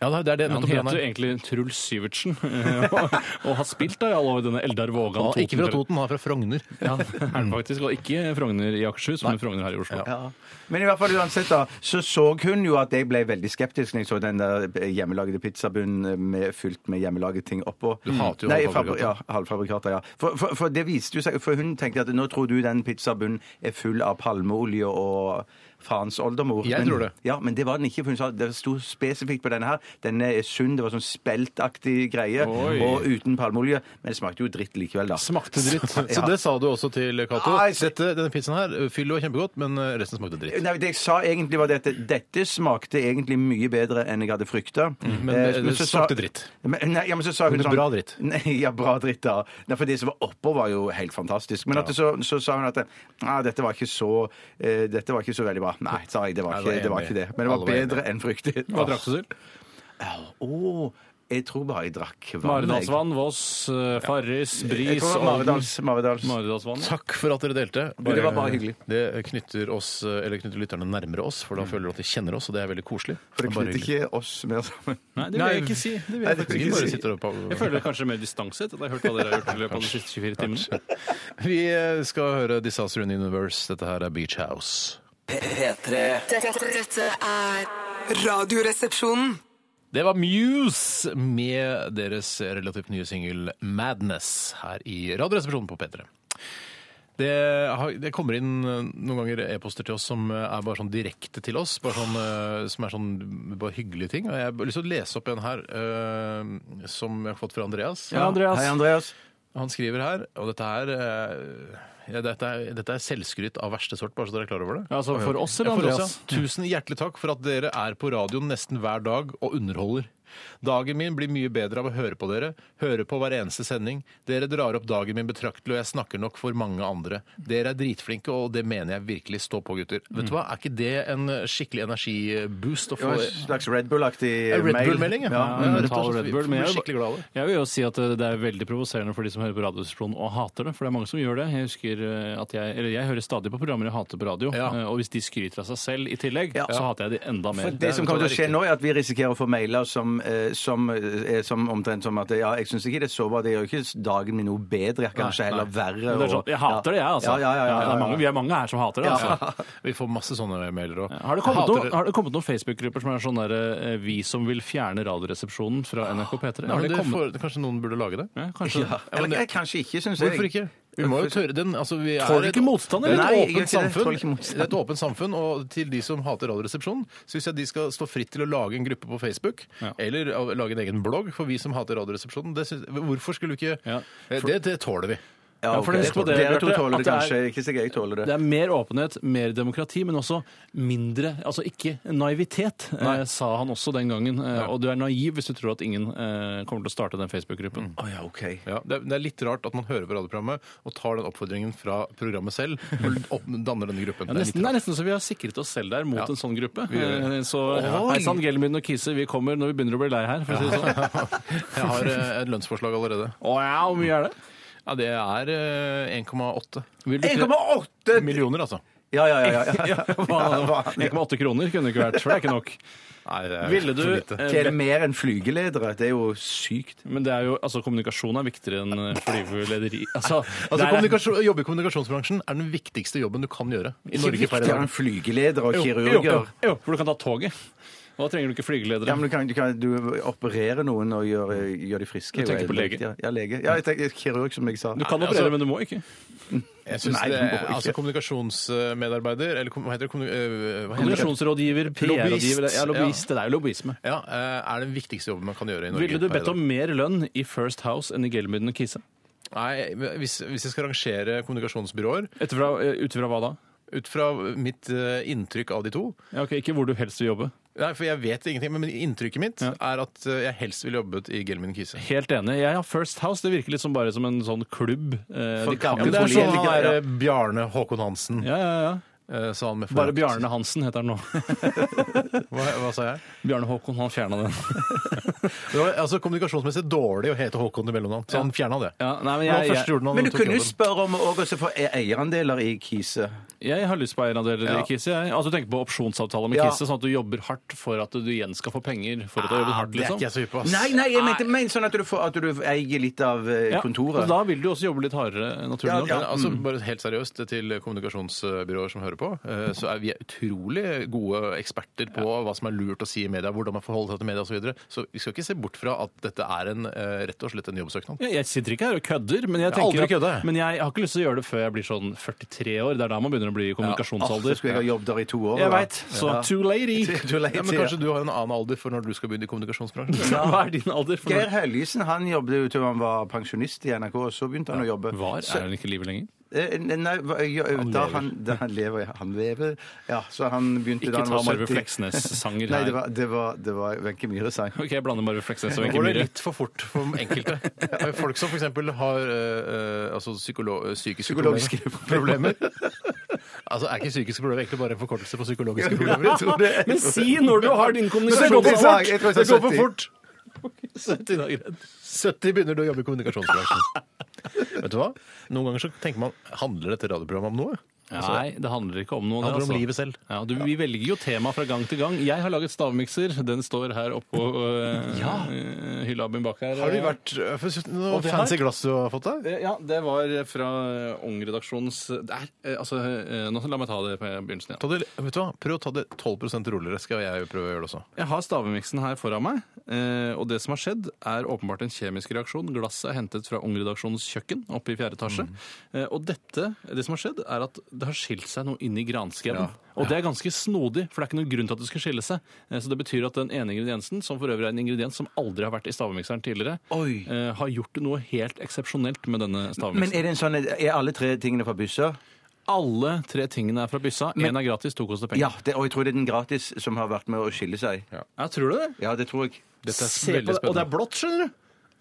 S5: Ja, det er- det er det.
S6: Han
S5: nettopp det
S6: heter jo egentlig Truls Syvertsen, eh, og, og har spilt da i alle år denne Eldar Vågan
S5: Han er ikke fra Toten, han er fra Frogner.
S6: Ja, er det faktisk, og ikke Frogner i Akershus, men Frogner her i Oslo.
S4: Ja. Men i hvert fall uansett da, så så hun jo at jeg ble veldig skeptisk når jeg så den der eh, hjemmelagde pizzabunnen eh, med, fylt med hjemmelaget ting oppå. Du
S5: hater jo
S4: Nei, fabri-
S5: halvfabrikata.
S4: Ja, halvfabrikata, ja. For, for, for det viste jo seg, for hun tenkte at nå tror du den pizzabunnen er full av palmeolje og faens oldemor.
S5: Jeg
S4: Men-
S5: tror det.
S4: Ja, men det var den ikke, for hun sa det sto spesifikt på denne her. Denne er sunn, det var sånn speltaktig greie,
S6: Oi.
S4: og uten palmeolje. Men det smakte jo dritt likevel da.
S5: Smakte dritt. Så
S4: Ja.
S5: det sa du også til Cato.
S4: Nei, så-
S5: Dette- Denne pizzaen her, fyllet var kjempegodt, men eh, resten smakte dritt.
S4: Nei, det jeg sa egentlig var dette. Dette smakte egentlig mye bedre enn jeg hadde Eh, frykta.
S5: Mhm. men det- det smakte dritt.
S4: Men, nei, ja, men så sa hun
S5: Men det er
S4: sånn,
S5: bra dritt.
S4: Nei, ja, bra dritt, da. Nei, for det som var oppå, var jo helt fantastisk. Men at det, så, så sa hun at ah, dette, var ikke så, eh, dette var ikke så veldig bra. Nei, sa jeg. Det var,
S5: Nei,
S4: ikke, det, var
S5: enig.
S4: ikke det. Men det
S5: Alle
S4: var
S5: var enige.
S4: bedre enn fryktet.
S6: Hva drakk du til?
S4: Å, jeg tror bare jeg drakk vann. jeg.
S6: Maridalsvann, Voss, eh, Farris,
S4: Jeg
S6: Bris,
S4: tror det var
S6: Odden.
S4: Maridals, Maridals.
S6: Maridalsvann. ja.
S5: Takk for at dere delte.
S4: det var bare hyggelig. Mm.
S5: Det knytter, oss, eller knytter lytterne nærmere oss, for da føler du at de kjenner oss, og det er veldig koselig.
S4: For det
S5: Så bare
S4: knytter ikke oss mer sammen.
S6: Nei, det vil jeg ikke si. Det vil
S4: Nei,
S6: jeg
S4: det
S6: faktisk
S4: vil
S5: hyggelig. Vi
S6: ikke
S5: bare
S6: si.
S5: sitter oppe
S6: Jeg føler kanskje mer distanse etter at jeg har hørt hva dere har gjort i løpet av de siste 24 timene.
S5: Vi eh, skal høre Disaster in the Universe. Dette her er Beach House.
S2: P3.
S7: Dette, dette er Radioresepsjonen.
S5: Det var Muse med deres relativt nye singel 'Madness' her i Radioresepsjonen på P3. Det, har, det kommer inn eh, noen ganger e-poster til oss som eh, er bare sånn direkte til oss. Bare sånn, eh, som er sånn bare hyggelige ting. Og jeg har lyst til å lese opp en her eh, som jeg har fått fra Andreas.
S4: Hei, Andreas.
S5: Han skriver her, og dette er eh, ja, dette, er, dette er selvskryt av verste sort, bare så dere er klar over det.
S6: Ja, altså, for oss eller
S5: Ja, for
S6: Andreas?
S5: ja. Tusen hjertelig takk for at dere er på radioen nesten hver dag og underholder. Dagen min blir mye bedre av å høre på dere. Høre på hver eneste sending. Dere drar opp dagen min betraktelig, og jeg snakker nok for mange andre. Dere er dritflinke, og det mener jeg virkelig. Stå på, gutter.
S6: Mm.
S5: Vet du hva, er ikke det en skikkelig energiboost å
S4: Det
S5: få?
S4: var en slags Red Bull-aktig
S5: Ja, Red
S4: mail.
S5: Bull-melding, ja.
S6: Ja,
S5: rett og
S6: mental
S5: slett.
S6: Red Bull, men
S5: Vi blir
S6: jeg-
S5: skikkelig glad av det.
S6: Jeg vil jo si at det er veldig provoserende for de som hører på Radioresepsjonen og hater det. For det er mange som gjør det. Jeg husker eh, at jeg, eller jeg hører stadig på programmer jeg hater på radio.
S5: Ja.
S6: eh, Og hvis de skryter av seg selv i tillegg,
S4: Ja.
S6: så hater jeg de enda
S4: For
S6: mer.
S4: det som kommer til å skje nå, er at vi risikerer å få mailer som, eh, som eh, er som omtrent som at ja, jeg syns ikke det er så bra, det gjør ikke dagen min noe bedre, kanskje heller verre.
S6: Men det er sånn,
S4: og-
S6: jeg hater det, jeg, altså.
S4: Ja, ja, ja, ja,
S6: Det er
S4: ja,
S6: mange, vi er mange her som hater det. altså.
S5: Vi får masse sånne mailer òg.
S6: Har det kommet, noen- har det kommet noen Facebook-grupper som er sånn der eh, 'Vi som vil fjerne Radioresepsjonen' fra NRK P3? Har
S5: Nei, men
S6: Ah, det
S5: det
S6: kommet?
S5: får- Kanskje noen burde lage det?
S6: Ja, kanskje.
S4: Eller, eh, kanskje ikke, syns jeg.
S5: Hvorfor ikke? Vi må jo tørre den. Altså, vi
S6: Tror
S5: er
S6: du
S5: et,
S6: ikke motstand,
S5: det er
S6: eller?
S4: Nei, jeg
S5: et
S4: gjør
S5: åpent
S4: ikke det. Tror
S5: samfunn.
S4: ikke motstand.
S5: Det er et åpent samfunn, og til de som hater Radioresepsjonen, syns jeg de skal stå fritt til å lage en gruppe på Facebook,
S6: Ja.
S5: eller av- lage en egen blogg, for vi som hater Radioresepsjonen, det syns- Hvorfor skulle vi ikke
S6: Ja.
S5: Eh, det, det tåler vi.
S6: Ja, for
S4: ok.
S6: husk på det,
S4: Dere to
S6: Bjarte,
S4: tåler
S6: at
S4: det
S6: det er-
S4: kanskje. Ikke jeg tåler
S6: Det
S4: det.
S6: er mer åpenhet, mer demokrati, men også mindre Altså ikke naivitet, eh, sa han også den gangen. Eh, Og du er naiv hvis du tror at ingen eh, kommer til å starte den Facebook-gruppen.
S4: Å ja, OK.
S5: Ja, det, er, det er litt rart at man hører på radioprogrammet og tar den oppfordringen fra programmet selv og opp, danner denne gruppen.
S6: Ja,
S5: Det er
S6: nesten,
S5: litt
S6: det
S5: rart.
S6: er nesten så vi har sikret oss selv der mot en sånn gruppe. Eh, Så
S4: Oi.
S6: hei sann, Gelmyden og Kise, vi kommer når vi begynner å bli lei her, for å si det sånn.
S5: Jeg har eh, et lønnsforslag allerede.
S6: Å ja, hvor mye er det?
S5: Ja, Det er eh, 1,8
S6: Vil du tre-
S4: 1,8!
S5: millioner, altså.
S4: Ja, ja, ja. ja.
S6: Ja, hva- 1,8 kroner kunne det ikke vært, for det er ikke nok.
S5: Nei, det er
S6: Ville du eh,
S5: for lite.
S4: Det er mer enn flygeledere. Det er jo sykt.
S6: Men det er jo, altså, kommunikasjon er viktigere enn eh, flyvelederi. Altså,
S5: Altså,
S6: der er-
S5: kommunikasjon- Å jobbe i kommunikasjonsbransjen er den viktigste jobben du kan gjøre i Norge. per i
S4: Det er
S5: dag.
S4: en flygeleder og
S6: Jo, Jo,
S4: kirurger.
S6: jo, jo, for du kan ta toget. Og da trenger du ikke flygeledere.
S4: Ja, men du, kan, du, kan, du opererer noen og gjør, gjør de friske.
S6: Du tenker på lege?
S4: Ja, lege. Ja, jeg tenker kirurg, som jeg sa.
S6: du kan
S5: Nei,
S6: operere,
S5: altså-
S6: men du må ikke.
S5: Jeg synes
S4: Nei,
S5: det,
S4: det må ikke.
S5: altså Kommunikasjonsmedarbeider, eller kom- hva heter det? Kommuni- eh, hva heter det?
S6: Kommunikasjonsrådgiver,
S5: Lobbyist.
S6: PR-rådgiver Ja, lobbyist. Det er jo lobbyisme.
S5: Ja, eh, er den viktigste jobben man kan gjøre i Norge.
S6: Ville du
S5: per i
S6: bedt
S5: dag.
S6: om mer lønn i First House enn i Gelmyden og Kise?
S5: Nei, hvis, hvis jeg skal rangere kommunikasjonsbyråer
S6: Ut ifra hva da?
S5: ut fra mitt eh, inntrykk av de to
S6: Ja, ok, Ikke hvor du helst vil jobbe.
S5: Nei, for jeg vet ingenting, men inntrykket mitt er at eh, jeg helst ville jobbet i Gelmin Kise.
S6: Helt enig. Ja, ja, First House det virker litt som bare som en sånn klubb. Eh,
S4: For
S6: de kan-
S4: gamle
S5: Men det er sånn han
S4: politikere,
S5: er
S4: ja.
S5: eh, Bjarne Håkon Hansen.
S6: ja, ja, ja.
S5: eh, sa han med
S6: Bare
S5: forakt.
S6: Bjarne Hansen heter han nå.
S5: Hva, hva sa jeg?
S6: Bjarne Håkon, han fjerna den.
S5: Det var altså kommunikasjonsmessig dårlig å hete Håkon til mellomnavn, så han fjerna det.
S6: Ja, nei, men
S5: Det var
S6: jeg,
S5: første
S6: jeg,
S5: jorden han
S4: Men du
S5: tok
S4: kunne jo
S5: jobben.
S4: spørre om også å få e- eierandeler i Kise.
S6: jeg har lyst på eierandeler i Kise. Jeg. Altså, du tenker på opsjonsavtale med
S4: Ja.
S6: Kise, sånn at du jobber hardt for at du igjen skal få penger for at du har jobbet
S5: Ah,
S6: hardt,
S5: det er
S6: liksom.
S5: ikke jeg så hypp på, ass.
S4: Nei, nei, jeg mente men sånn at du, får, at du eier litt av eh,
S6: Ja,
S4: kontoret.
S6: Og da vil du også jobbe litt hardere, naturlig
S4: Ja, Mm.
S6: nok.
S5: Men altså, bare helt seriøst til kommunikasjonsbyråer som hører på, eh, så er vi utrolig gode eksperter på hva som er lurt å si i media, hvordan man forholder seg til media osv. Så, videre. så vi skal ikke se bort fra at dette er en, eh, rett og slett en jobbsøknad.
S6: Ja, Jeg sitter ikke her og kødder, men jeg,
S5: Jeg har
S6: tenker
S5: aldri kødda, jeg.
S6: at, men jeg har ikke lyst til å gjøre det før jeg blir sånn 43 år. Det er da man begynner å bli i
S4: Åh, så
S6: kommunikasjonsalder.
S4: skulle jeg ha jobb der i to år.
S6: Jeg
S4: da.
S6: veit. Så
S4: Ja.
S6: too lady.
S4: Too late,
S5: Ja, men
S4: ja.
S5: kanskje du har en annen alder for når du skal begynne i kommunikasjonsbransjen?
S6: Hva er din alder? For
S4: Geir
S6: når
S4: Høllisen han jobbet jo til han var pensjonist i NRK, og så begynte han å jobbe.
S6: var?
S4: Så-
S6: Er han ikke i livet lenger?
S4: Eh, Nei, hva- ja, da han, da han lever ja, Han lever, ja. Så han begynte da han
S6: Ikke ta
S4: var
S6: Marve
S4: 70.
S6: Fleksnes-sanger
S4: Nei, det
S6: her.
S4: var- det var- det var Wenche Myhre sang.
S6: Ok, jeg blander Marve Fleksnes og Wenche
S5: Går det
S6: Myhre.
S5: litt for fort for enkelte? Folk som f.eks. har eh, eh, altså psykolo psykiske
S4: Psykologiske
S5: problemer. altså, er ikke psykiske problemer egentlig bare en forkortelse for psykologiske problemer?
S4: Jeg tror det-
S6: Men si når du har din
S4: Jeg tror det
S6: kommunikasjon!
S4: sang- jeg tror det
S5: Det
S4: sang
S5: går for
S4: 70.
S5: fort! 70 begynner du å jobbe i kommunikasjonsbransjen. Vet du hva? Noen ganger så tenker man handler dette radioprogrammet om noe?
S6: Nei, det handler ikke om noe.
S5: Det Altså, handler om
S6: altså.
S5: livet selv.
S6: Ja, du, vi velger jo tema fra gang til gang. Jeg har laget stavmikser. Den står her oppå øh, øh, hylla mi bak her.
S5: Har du vært øh, for- noe
S6: Og det
S5: fancy glass du har fått deg?
S6: Eh, Ja, det var fra eh, Ung-redaksjonens Der! eh, Altså, eh, nå la meg ta det på begynnelsen igjen.
S5: Ta det, vet du hva? Prøv å ta det 12 roligere, skal jeg prøve å gjøre det også.
S6: Jeg har stavemiksen her foran meg, eh, og det som har skjedd, er åpenbart en kjemisk reaksjon. Glasset er hentet fra Ung-redaksjonens kjøkken oppe i fjerde etasje.
S4: Mm.
S6: Eh, Og dette, det som har skjedd, er at det har skilt seg noe inn i granskauen. Og det er ganske snodig, for det er ikke noen grunn til at det skal skille seg. Eh, Så det betyr at den ene ingrediensen, som for øvrig er en ingrediens som aldri har vært i stavemikseren tidligere,
S4: Oi.
S6: eh, har gjort noe helt eksepsjonelt med denne
S4: Men
S6: stavemikseren.
S4: er, det en sånn, er alle tre tingene fra Bysser?
S6: Alle tre tingene er fra byssa. Én er gratis, to koster penger.
S4: Ja, det, og jeg tror det er den gratis som har vært med å skille seg. Ja,
S6: Ja, tror du det?
S4: det tror jeg.
S5: Dette
S6: Se på det, og det er
S5: blått, skjønner du!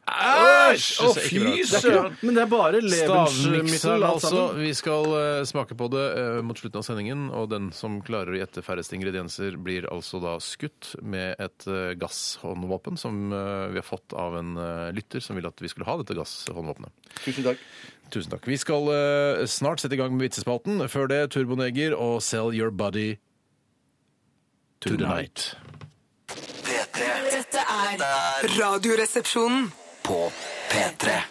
S4: Æsj!
S5: Å, fy
S4: søren!
S6: Men det er bare
S3: eh,
S5: Stavmikseren, altså. Vi skal eh, smake på det eh, mot slutten av sendingen. Og den som klarer å gjette færrest ingredienser, blir altså da skutt med et eh, gasshåndvåpen som eh, vi har fått av en eh, lytter som ville at vi skulle ha dette gasshåndvåpenet.
S4: Tusen takk.
S5: Tusen takk. Vi skal eh, snart sette i gang med vitsespalten. Før det Turboneger og Sell Your Body to the Night.
S2: P3
S7: Dette er Radioresepsjonen.
S2: på P3.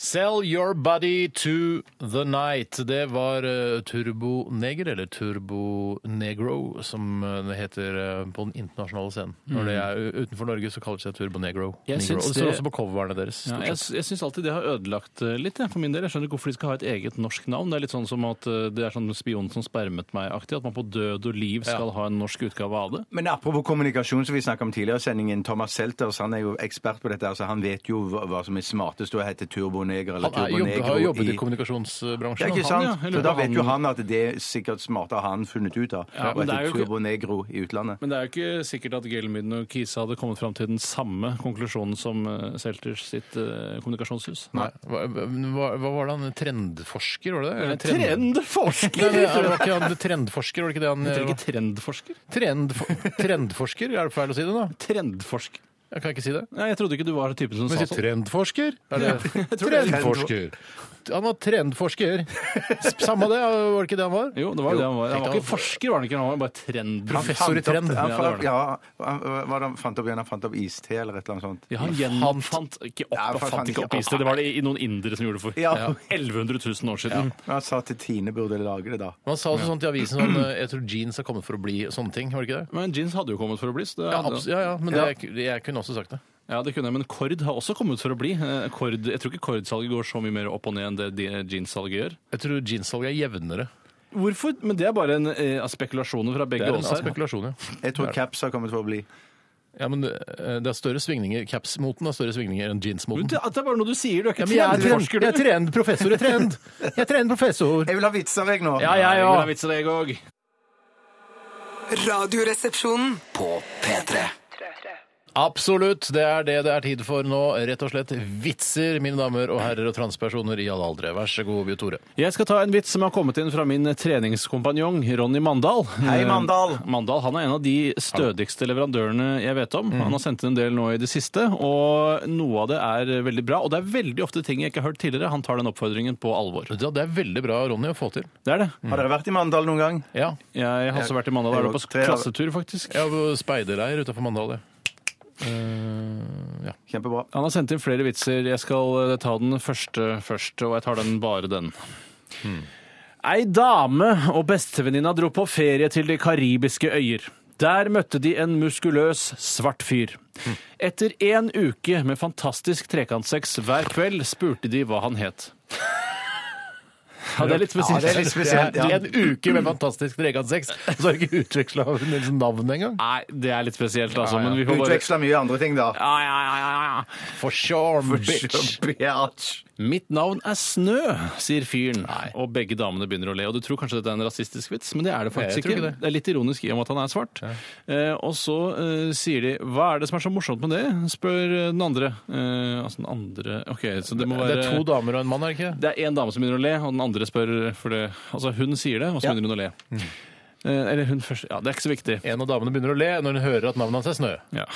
S5: Sell Your Body to the Night. Det var eh, Turbo Neger, eller Turbo Negro, som eh, det heter eh, på den internasjonale scenen. Når det er u- utenfor Norge, så kaller det seg Turbo Negro.
S6: Jeg
S5: Negro.
S6: syns
S5: Og det står
S6: det-
S5: også på coverene deres.
S6: Ja,
S5: stort
S6: jeg
S5: sett.
S6: jeg syns alltid det har ødelagt eh, litt, jeg, for min del. Jeg skjønner ikke hvorfor de skal ha et eget norsk navn. Det er litt sånn som at eh, det er sånn spionen som spermet meg-aktig. At man på død og liv skal ha en norsk utgave av det.
S4: Men apropos kommunikasjon, som vi snakket om tidligere i sendingen, Thomas Selters han er jo ekspert på dette. altså Han vet jo hva, hva som er smartest, og heter Turbo Monega eller
S5: Han er,
S4: Turbo
S5: jobb,
S4: Negro
S5: har jo jobbet i
S4: kommunen.
S5: kommunikasjonsbransjen.
S4: Ja, ikke
S5: han,
S4: sant?
S6: ja. Jeg lurer
S4: Så da
S6: på
S4: vet
S6: han-
S4: jo han at det er sikkert smarte har han funnet ut av.
S6: Ja,
S4: og
S6: men det er
S4: heter
S6: jo ikke-
S4: Turbo Negro i utlandet.
S6: Men det er jo ikke sikkert at Gelmyden og Kise hadde kommet fram til den samme konklusjonen som eh, Selters sitt eh, kommunikasjonshus.
S5: Nei. Hva, hva, hva var det han Trendforsker, var det det? Eller trend-
S6: Eh, Trendforsker!
S5: Nei, men eh, er det ikke han trendforsker, var det ikke det han
S6: Heter det ikke trendforsker?
S5: Trendf- Trendforsker? Er det feil å si det, da?
S6: Trendforsker?
S5: Jeg kan ikke si det.
S6: Nei, jeg trodde ikke du var typen som
S5: Men
S6: sa
S5: sier
S6: sånn.
S5: trendforsker? Er det trendforsker. Han var trendforsker. Samme det, var det ikke det han var?
S6: Jo, det var jo det han var. Han var
S5: Tenkte
S6: ikke forsker, var han ikke? Han var bare trend...
S5: Han- Professor i
S4: Fant opp-
S5: trend.
S4: Han,
S6: Ja, det var
S4: fant-
S6: det.
S4: ja, han, hva var det han fant opp igjen? Han fant opp iste eller et eller annet sånt?
S6: Ja, han gjenfant ikke opp,
S4: Ja,
S6: han fant ikke opp iste. Det var det i- i noen indere som gjorde det for
S4: Ja.
S6: 1100 000 år siden.
S4: Men Han sa til Tine burde lage det, da.
S5: Man sa også sånt i avisen sånn eh, Jeg tror jeans har kommet for å bli sånne ting, var det ikke det?
S6: Men jeans hadde jo kommet for å bli. Så det,
S5: Ja,
S6: hadde-
S5: abs- ja, ja men det, jeg kunne også sagt det.
S6: Ja, det kunne jeg, men Kord har også kommet for å bli. Eh, Kord, jeg tror ikke Kord-salget går så mye mer opp og ned enn det de- jeans-salget gjør.
S5: Jeg tror jeanssalget er jevnere.
S6: Hvorfor? Men det er bare en eh, spekulasjoner fra
S5: Det
S6: begge
S5: er en
S6: oss her.
S5: spekulasjon, ja.
S4: Jeg tror caps har kommet for å bli.
S5: ja men eh, det er større svingninger, Caps-moten har større svingninger
S6: Men
S5: enn jeans-moten.
S6: Det det er bare noe du sier, du er
S5: Ja,
S6: ikke
S5: men jeg er trend,
S6: trendforsker.
S5: jeg er trend, professor i trend! Jeg er trend professor!
S4: Jeg vil ha vitser, jeg nå.
S5: Ja, ja, ja.
S7: Radioresepsjonen.
S2: På P3.
S5: Absolutt. Det er det det er tid for nå. Rett og slett vitser, mine damer og herrer og transpersoner i alle aldre. Vær så god, Bjørn Tore.
S6: Jeg skal ta en vits som har kommet inn fra min treningskompanjong Ronny Mandal.
S4: Hei, Mandal.
S6: Eh, Mandal han er en av de stødigste leverandørene jeg vet
S4: Mm.
S6: om. Han har sendt inn en del nå i det siste, og noe av det er veldig bra. Og det er veldig ofte ting jeg ikke har hørt tidligere. Han tar den oppfordringen på alvor.
S5: Ja, det er veldig bra, Ronny, å få til.
S6: Det er det.
S4: Har dere vært i Mandal noen gang?
S5: Ja.
S6: Jeg har også vært i Mandal. Jeg var på
S4: Tre-
S6: klassetur, faktisk.
S5: Jeg var på speiderleir utafor Mandal, jeg.
S4: Kjempebra.
S6: Han har sendt inn flere vitser. Jeg skal eh, ta den første først, og jeg tar den bare den. Ei dame og bestevenninna dro på ferie til de karibiske øyer. Der møtte de en muskuløs, svart fyr. Etter én uke med fantastisk trekantsex hver kveld spurte de hva han het. Ja, det er litt
S4: Ja,
S6: spesielt.
S4: det er litt spesielt.
S5: Det er
S4: Ja.
S5: en uke med fantastisk trekantsex, og så har du ikke utveksla sånn navn engang.
S6: Nei, det er litt spesielt, altså.
S5: Ja, ja.
S6: Men vi får bare
S4: Utveksla mye andre ting, da.
S6: ja, ja, ja, ja, ja.
S5: For sure,
S4: Bitch.
S6: Mitt navn er Snø, sier fyren. Og begge damene begynner å le. Og du tror kanskje dette er en rasistisk vits, men det er det
S5: jeg
S6: faktisk
S5: tror
S6: ikke.
S5: ikke
S6: Det. er litt ironisk i og med at han er svart. Eh, og så eh, sier de 'hva er det som er så morsomt med det', spør eh, den andre. Eh, altså den andre OK, så det må
S5: Det
S6: være
S5: er to damer og en mann, er det ikke? det?
S6: det er én dame som begynner å le, og den andre spør for det. Altså, hun sier det, og så
S4: Ja.
S6: begynner hun å le. Eh, eller hun først Ja, det er ikke så viktig.
S5: En av damene begynner å le når hun hører at navnet hans er Snø.
S6: Ja.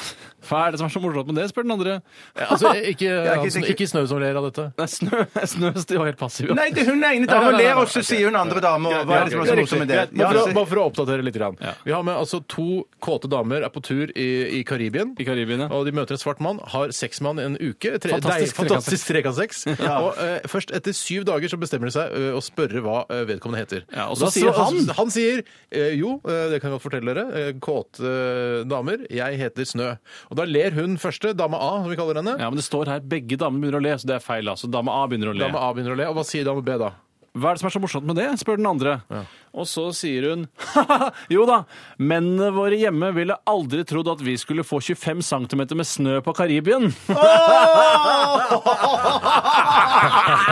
S6: Hva er det som er så morsomt med det, spør den andre.
S5: Altså, ikke,
S4: ikke
S5: han som-
S4: sikkert.
S5: ikke Snø som ler av dette.
S6: Nei, Snø, snø det var helt passiv.
S4: Nei, det er hun ene
S5: Nei, nei,
S4: dama
S5: nei,
S4: ler,
S5: nei,
S4: og så
S5: ok.
S4: sier hun andre dame. og Hva er det som er så
S5: Greit,
S4: morsomt med det?
S5: greit.
S4: Ja,
S5: Bare for, å-
S4: altså,
S5: bare for å oppdatere litt. grann.
S6: Ja.
S5: Vi har med altså, to kåte damer er på tur i, i Karibien.
S6: I Karibien, ja.
S5: Og de møter en svart mann, har sex med han en uke. Tre,
S6: Fantastisk
S5: nei, fantastisk trekantsex. Og eh, først etter syv dager så bestemmer de seg eh, å spørre hva eh, vedkommende heter.
S6: Ja, og så sier han-
S5: Han sier eh, jo, eh, det kan jeg godt fortelle dere, eh, kåte eh, damer, jeg heter Snø. Og da ler hun første, dame A, som vi kaller henne.
S6: Ja, men det står her begge damene begynner å le, så det er feil. altså. Dame A begynner å le.
S5: Dame A begynner å le, og hva sier dame B da?
S6: Hva er det som er så morsomt med det? spør den andre. Og så sier hun «Haha, jo da, mennene våre hjemme ville aldri trodd at vi skulle få 25 cm med snø på Karibien.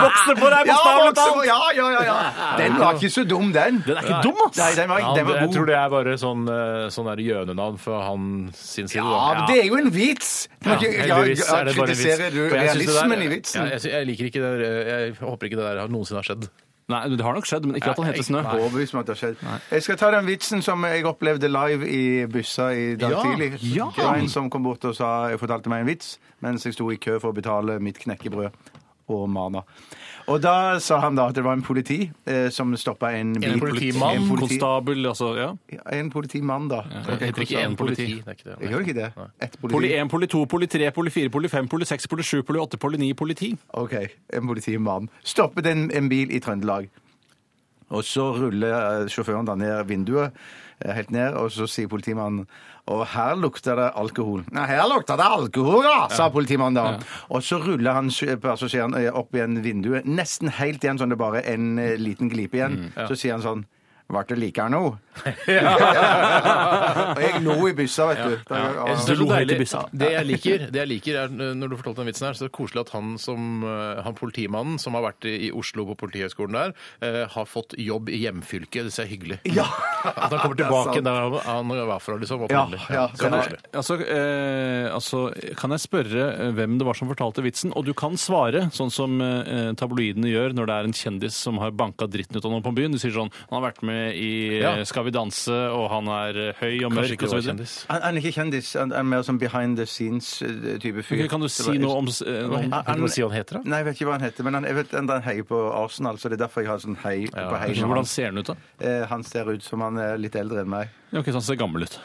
S6: Vokser på deg
S4: ja,
S6: bokstavelig
S4: voksen-
S6: talt!
S4: ja, ja, ja, ja. Den var ikke så dum, den.
S6: Den er ikke dum, ass!
S4: Nei, den var, den var
S5: jeg
S4: god.
S5: tror det er bare sånn, eh, sånn der gjønenavn fra han sin side.
S4: Ja,
S5: da.
S4: men det er jo en vits! Du må ikke- ja,
S5: Heldigvis er det bare en vits.
S4: Kritiserer du
S5: For jeg synes det der-
S4: realismen i vitsen?
S5: Ja, jeg, sy- jeg liker ikke det der, eh, jeg håper ikke det der har noensinne har skjedd.
S6: Nei, det har nok skjedd, men ikke at han
S5: Nei,
S6: heter Snø.
S5: nei.
S4: Overbevist om at det har skjedd. Jeg skal ta den vitsen som jeg opplevde live i byssa i dag
S5: Ja,
S4: tidlig.
S6: ja.
S4: Det var en som kom bort og sa, fortalte meg en vits mens jeg sto i kø for å betale mitt knekkebrød. Og mana. Og da sa han da at det var en politi eh, som stoppa en bil.
S5: politimann,
S4: en, politi,
S6: Konstabel, altså. ja.
S4: ja, en politimann, da.
S5: Det heter ikke én
S6: politi.
S5: politi. Det er ikke det.
S4: Jeg gjør ikke det. Ett politi.
S6: Poli 1, poli 2, poli 3, poli 4, poli 5, poli 6, poli 7, poli 8, poli 9, poli 10.
S4: Ok, en politimann. Stoppet en, en bil i Trøndelag. Og så ruller eh, sjåføren da ned vinduet, eh, helt ned, og så sier politimannen Og her lukter det alkohol. Nei, her lukter det alkohol, ja! sa politimannen da. Og så ruller han sj- passasjeren Mm, eh, opp igjen vinduet, nesten helt igjen, sånn det bare er en eh, liten glipe igjen. Så sier han sånn Vart det likere nå? Og jeg lo i byssa, vet du. Da-
S5: Jeg synes
S4: ja.
S5: det, er så
S6: Du lo helt i
S5: deilig.
S6: byssa.
S5: det jeg liker, det jeg liker er, eh, når du fortalte den vitsen her, så er det koselig at han som eh, han politimannen som har vært i i Oslo på Politihøgskolen der, eh, har fått jobb i hjemfylket. Det synes jeg er hyggelig. At han kommer
S4: det er
S5: tilbake
S4: sant.
S5: der han- han var fra, liksom.
S4: Ja,
S5: opprinnelig.
S4: ja.
S5: Så det er koselig.
S6: Altså, eh, altså, kan jeg spørre eh, hvem det var som fortalte vitsen? Og du kan svare, sånn som eh, tabloidene gjør når det er en kjendis som har banka dritten ut av noen på byen. Du sier sånn Han har vært med i eh,
S5: Ja.
S6: Skal vi danse, og han er eh, høy og
S5: Kanskje
S6: mørk og
S5: ikke du
S6: så
S5: var
S6: videre.
S5: kjendis.
S4: Han han er ikke kjendis, han er mer sånn behind the scenes-type fyr.
S6: Ok, Kan du
S4: Det
S6: si
S4: var-
S6: noe om, s- eh, om
S5: Kan du si hva han heter, da?
S4: Nei, jeg vet ikke hva han heter, men han, jeg vet enda han heier på Arsenal, så det er derfor jeg har sånn hei på
S6: ja,
S4: heiene
S6: Hvordan
S4: hans.
S6: ser han ut, da?
S4: Eh, Han ser ut som han er litt eldre enn meg.
S6: Ja, Ok, så Han ser gammel ut.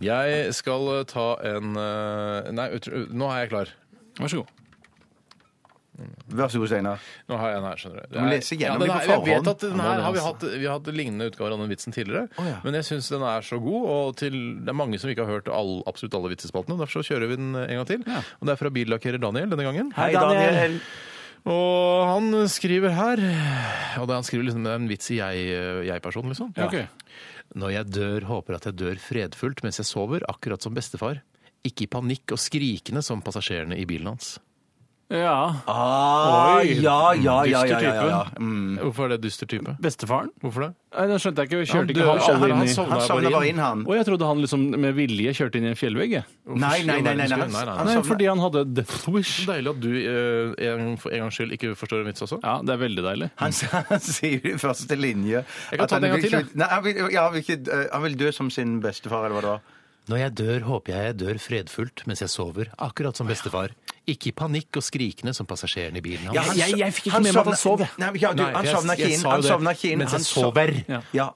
S5: Jeg skal eh, ta en eh, Nei, ut- nå er jeg klar.
S6: Vær så god.
S4: Vær så god, Steinar.
S5: Nå har jeg en her, skjønner du.
S4: må lese gjennom
S5: den
S4: de på
S5: er- jeg vet
S4: forhånd.
S5: at den her har vi hatt, vi har hatt lignende utgaver av den vitsen tidligere, men jeg syns den er så god, og til, det er mange som ikke har hørt all, absolutt alle vitsespaltene, derfor så kjører vi den en gang til. Og det er fra billakkerer Daniel denne gangen.
S4: Hei, Daniel.
S5: Og han skriver her, og det han skriver liksom, det er en vits i jeg- jeg-personen, liksom.
S6: Ja. ok.
S5: Når jeg dør, håper jeg at jeg dør fredfullt mens jeg sover, akkurat som bestefar. Ikke i panikk og skrikende som passasjerene i bilen hans.
S6: ja.
S4: Ah,
S6: Oi.
S4: ja, ja, ja, ja,
S6: Dyster
S4: ja, ja.
S6: type.
S4: Mm.
S5: Hvorfor er det dyster type?
S6: Bestefaren?
S5: Hvorfor det?
S6: Nei, Den skjønte jeg ikke. Jeg
S5: Han
S6: Kjørte
S5: dør-
S6: ikke han
S5: han-
S6: alle
S5: han
S6: inn i
S5: sovna
S4: Han sovner bare inn, han.
S6: Å, jeg trodde han liksom med vilje kjørte inn i en fjellvegg. jeg.
S4: Nei, nei, nei. nei, nei,
S5: Nei, nei,
S4: han-
S5: nei.
S4: han
S6: Nei,
S4: sovner-
S6: fordi han hadde death wish.
S5: Deilig at du eh, en, for en gangs skyld ikke forstår en vits også.
S6: Ja, det er veldig deilig.
S4: Han, s- han sier i første linje
S5: Jeg kan
S4: at
S5: ta
S4: han
S5: den en gang
S4: vil
S5: til,
S4: ikke- Nei, han vil, ja, han, vil ikke, eh, han vil dø som sin bestefar, eller hva det var.
S5: Når jeg dør, håper jeg jeg dør fredfullt mens jeg sover, akkurat som bestefar. Ikke i panikk og skrikende som passasjeren i bilen hans.
S4: han
S6: jeg- jeg fikk ikke med meg at han
S4: sovna-
S6: sov, jeg.
S4: Nei, men ja, du,
S5: Nei,
S4: han
S5: jeg-
S4: sovna ikke
S5: jeg
S4: inn.
S5: sa
S4: Han
S5: det
S4: sovna ikke inn.
S5: mens
S4: han
S5: jeg
S4: sov-
S5: sover.
S6: Ja.
S4: Ja.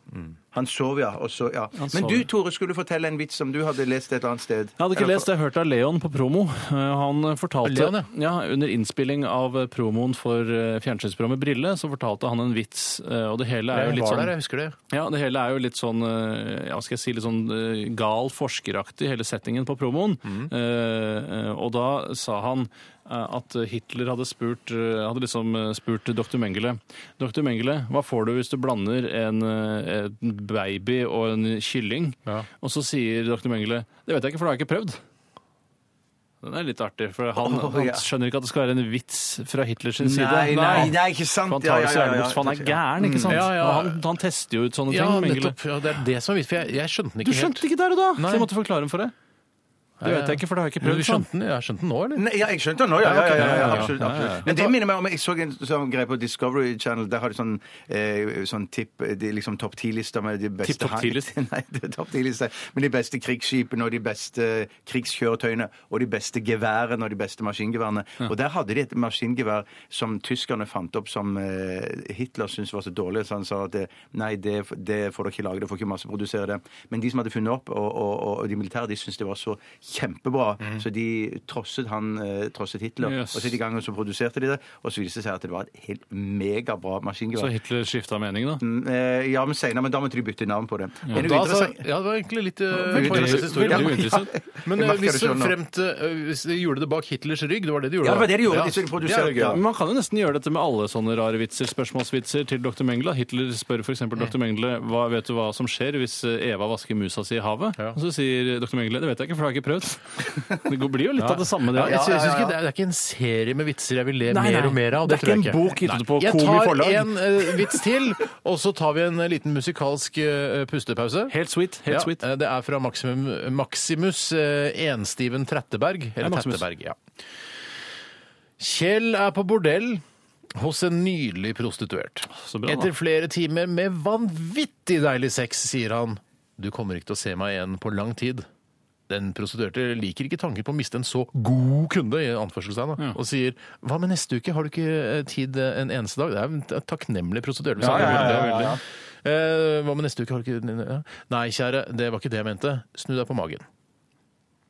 S4: Han sov, ja. Og så, ja. Men
S6: sov,
S4: du,
S6: ja.
S4: Tore, skulle fortelle en vits som du hadde lest et annet sted.
S6: Jeg hadde ikke
S4: Eller-
S6: lest, jeg hørte av Leon på promo. Eh, Han fortalte
S5: Leon, ja.
S6: ja, Under innspilling av eh, promoen for eh, fjernsynsprogrammet Brille, så fortalte han en vits. eh, Og det hele er jo
S5: Jeg
S6: litt
S5: var der,
S6: sånn,
S5: jeg husker det.
S6: ja, det hele er jo litt sånn eh, ja, hva skal jeg si, litt sånn eh, gal forskeraktig, hele settingen på promoen.
S4: Mhm.
S6: Eh, eh, Og da sa han eh, at Hitler hadde spurt, eh, hadde liksom eh, spurt dr. Mengele Dr. Mengele, hva får du hvis du blander en, eh, en baby og en kylling? Og så sier dr. Mengele Det vet jeg ikke, for det har jeg ikke prøvd. Den er litt artig, for han,
S4: Åh,
S6: han
S4: ja.
S6: skjønner ikke at det skal være en vits fra Hitlers side.
S4: Nei, nei, nei, ikke sant.
S6: For han tar det så
S4: Ja, ja, ja,
S6: gjerne bort, for han er
S4: ja.
S6: gæren, ikke sant?
S5: Ja, ja.
S6: Og Han, han tester jo ut sånne
S5: Ja,
S6: ting. Mengele.
S5: nettopp. Ja, det er det som er vits, for jeg, jeg skjønte den
S6: Du
S5: ikke helt.
S6: skjønte ikke der og da,
S5: Nei.
S6: så jeg måtte forklare den for deg. Det vet jeg ikke, for det har jeg ikke
S5: Men
S6: prøvd.
S5: du skjønte den, jeg skjønte den nå, eller?
S4: Nei, ja, jeg skjønte det nå, ja. ja, ja, ja, ja,
S5: ja, ja.
S4: absolutt,
S5: Ja, ja, ja.
S4: absolutt. Men det minner meg om Jeg så en sånn greie på Discovery Channel. Der har de sånn, eh, sånn tipp de liksom topp ti-lister med de beste
S6: Tipp topp 10-list?
S4: Nei, det er topp 10-lister. Men de beste krigsskipene og de beste krigskjøretøyene og de beste geværene og de beste maskingeværene. Og der hadde de et maskingevær som tyskerne fant opp som eh, Hitler syntes var så dårlig, så han sa at det, nei, det, det får dere ikke lage, dere får ikke masseprodusere det. Men de som hadde funnet opp, og, og, og, og de militære, de syntes det var så kjempebra, så de trosset han, eh, trosset Hitler.
S6: Yes.
S4: Og så gikk de i gang og så produserte de det, og så viste det seg at det var et helt megabra
S6: Så
S4: maskingevær.
S6: Hitler skifta mening, da?
S4: Mm, eh, Ja, men senere, men da måtte de bytte navn på det. Men det er
S5: Da,
S4: jo
S5: altså,
S4: interessant-
S5: ja, det var egentlig litt uh,
S4: Veldig-
S5: poengløs historie.
S6: veldig
S5: Ja, ja.
S6: uinteressant.
S5: Men
S4: Jeg
S5: eh,
S4: merker
S5: hvis,
S4: det selv nå.
S5: frem til, eh, hvis de gjorde det bak Hitlers rygg, det var det de gjorde?
S4: Ja, det var det de gjorde.
S5: Ja.
S4: De skulle
S5: Det
S4: produsere
S5: er jo
S4: gøy.
S6: Men Man kan jo nesten gjøre dette med alle sånne rare vitser, spørsmålsvitser til dr. Mengele. Hitler spør f.eks. dr. Mengele hva, vet du hva som skjer hvis eh, Eva vasker musa si i havet.
S5: Ja.
S6: Og så sier dr. Mengele det vet jeg ikke, for det har jeg ikke prøvd. Det går- blir jo litt av det samme, det
S5: Ja,
S6: her.
S5: jeg synes ikke, det, er, det er ikke en serie med vitser jeg vil le
S6: Nei, nei.
S5: mer og mer av.
S6: Det
S5: Det,
S6: er
S5: tror jeg
S6: ikke en bok gitt ut
S5: Nei.
S6: på Komi forlag.
S5: Jeg tar en eh, vits til, og så tar vi en eh, liten musikalsk eh, pustepause.
S6: Helt sweet. helt
S5: Ja,
S6: sweet.
S5: eh, Det er fra Maximum, Maximus eh, Enstiven Tretteberg.
S6: Ja,
S5: Eller
S6: Maximus.
S5: Tretteberg, ja. Kjell er på bordell hos en nydelig prostituert.
S6: Så bra, da.
S5: Etter flere timer med vanvittig deilig sex, sier han. Du kommer ikke til å se meg igjen på lang tid. Den prostituerte liker ikke tanken på å miste en så god kunde, i anførselstegn, da, og sier 'hva med neste uke, har du ikke eh, tid eh, en eneste dag'? Det er en t- takknemlig prostituert. hvis han
S4: ja,
S5: kan gjøre det.
S4: ja, ja, ja.
S5: Eh, hva med neste uke? Har du ikke... Nei, kjære, det var ikke det jeg mente. Snu deg på magen.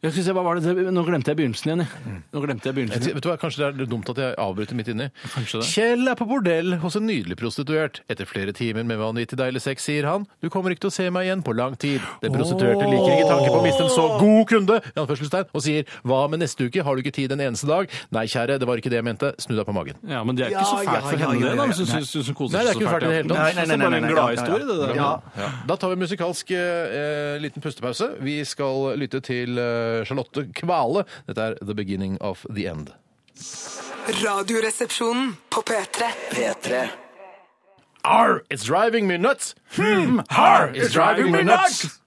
S6: Jeg skulle se, hva var det? Nå glemte jeg begynnelsen igjen. Jeg. Nå glemte jeg
S5: Jeg
S6: begynnelsen
S5: t- Vet du hva, Kanskje det er dumt at jeg avbryter midt inni.
S6: Kanskje det.
S5: Kjell er på bordell hos en nydelig prostituert. Etter flere timer med vanvittig deilig sex sier han 'du kommer ikke til å se meg igjen på lang tid'. Den prostituerte liker ikke tanken på å miste en så god kunde i anførselstegn, og sier 'hva med neste uke, har du ikke tid en eneste dag'? Nei, kjære, det var ikke det jeg mente. Snu deg på magen.
S6: Ja, men det er ikke så
S4: Ja,
S6: fælt for
S4: ja, ja, ja,
S6: henne, det.
S4: ja.
S6: da, hvis hun syns- syns hun koser
S5: Nei, det er
S6: seg så
S5: ikke
S6: fælt.
S5: fælt i det hele tatt.
S6: ja. Det er bare en gladhistorie, det der.
S4: Ja,
S5: Ja. Da tar vi musikalsk eh, liten pustepause. Vi skal lytte til eh, Charlotte Kvale. Dette er 'The Beginning of the End'.
S7: Radioresepsjonen på P3.
S2: P3
S5: R, it's driving me nuts! Hmm, R, it's driving me nuts!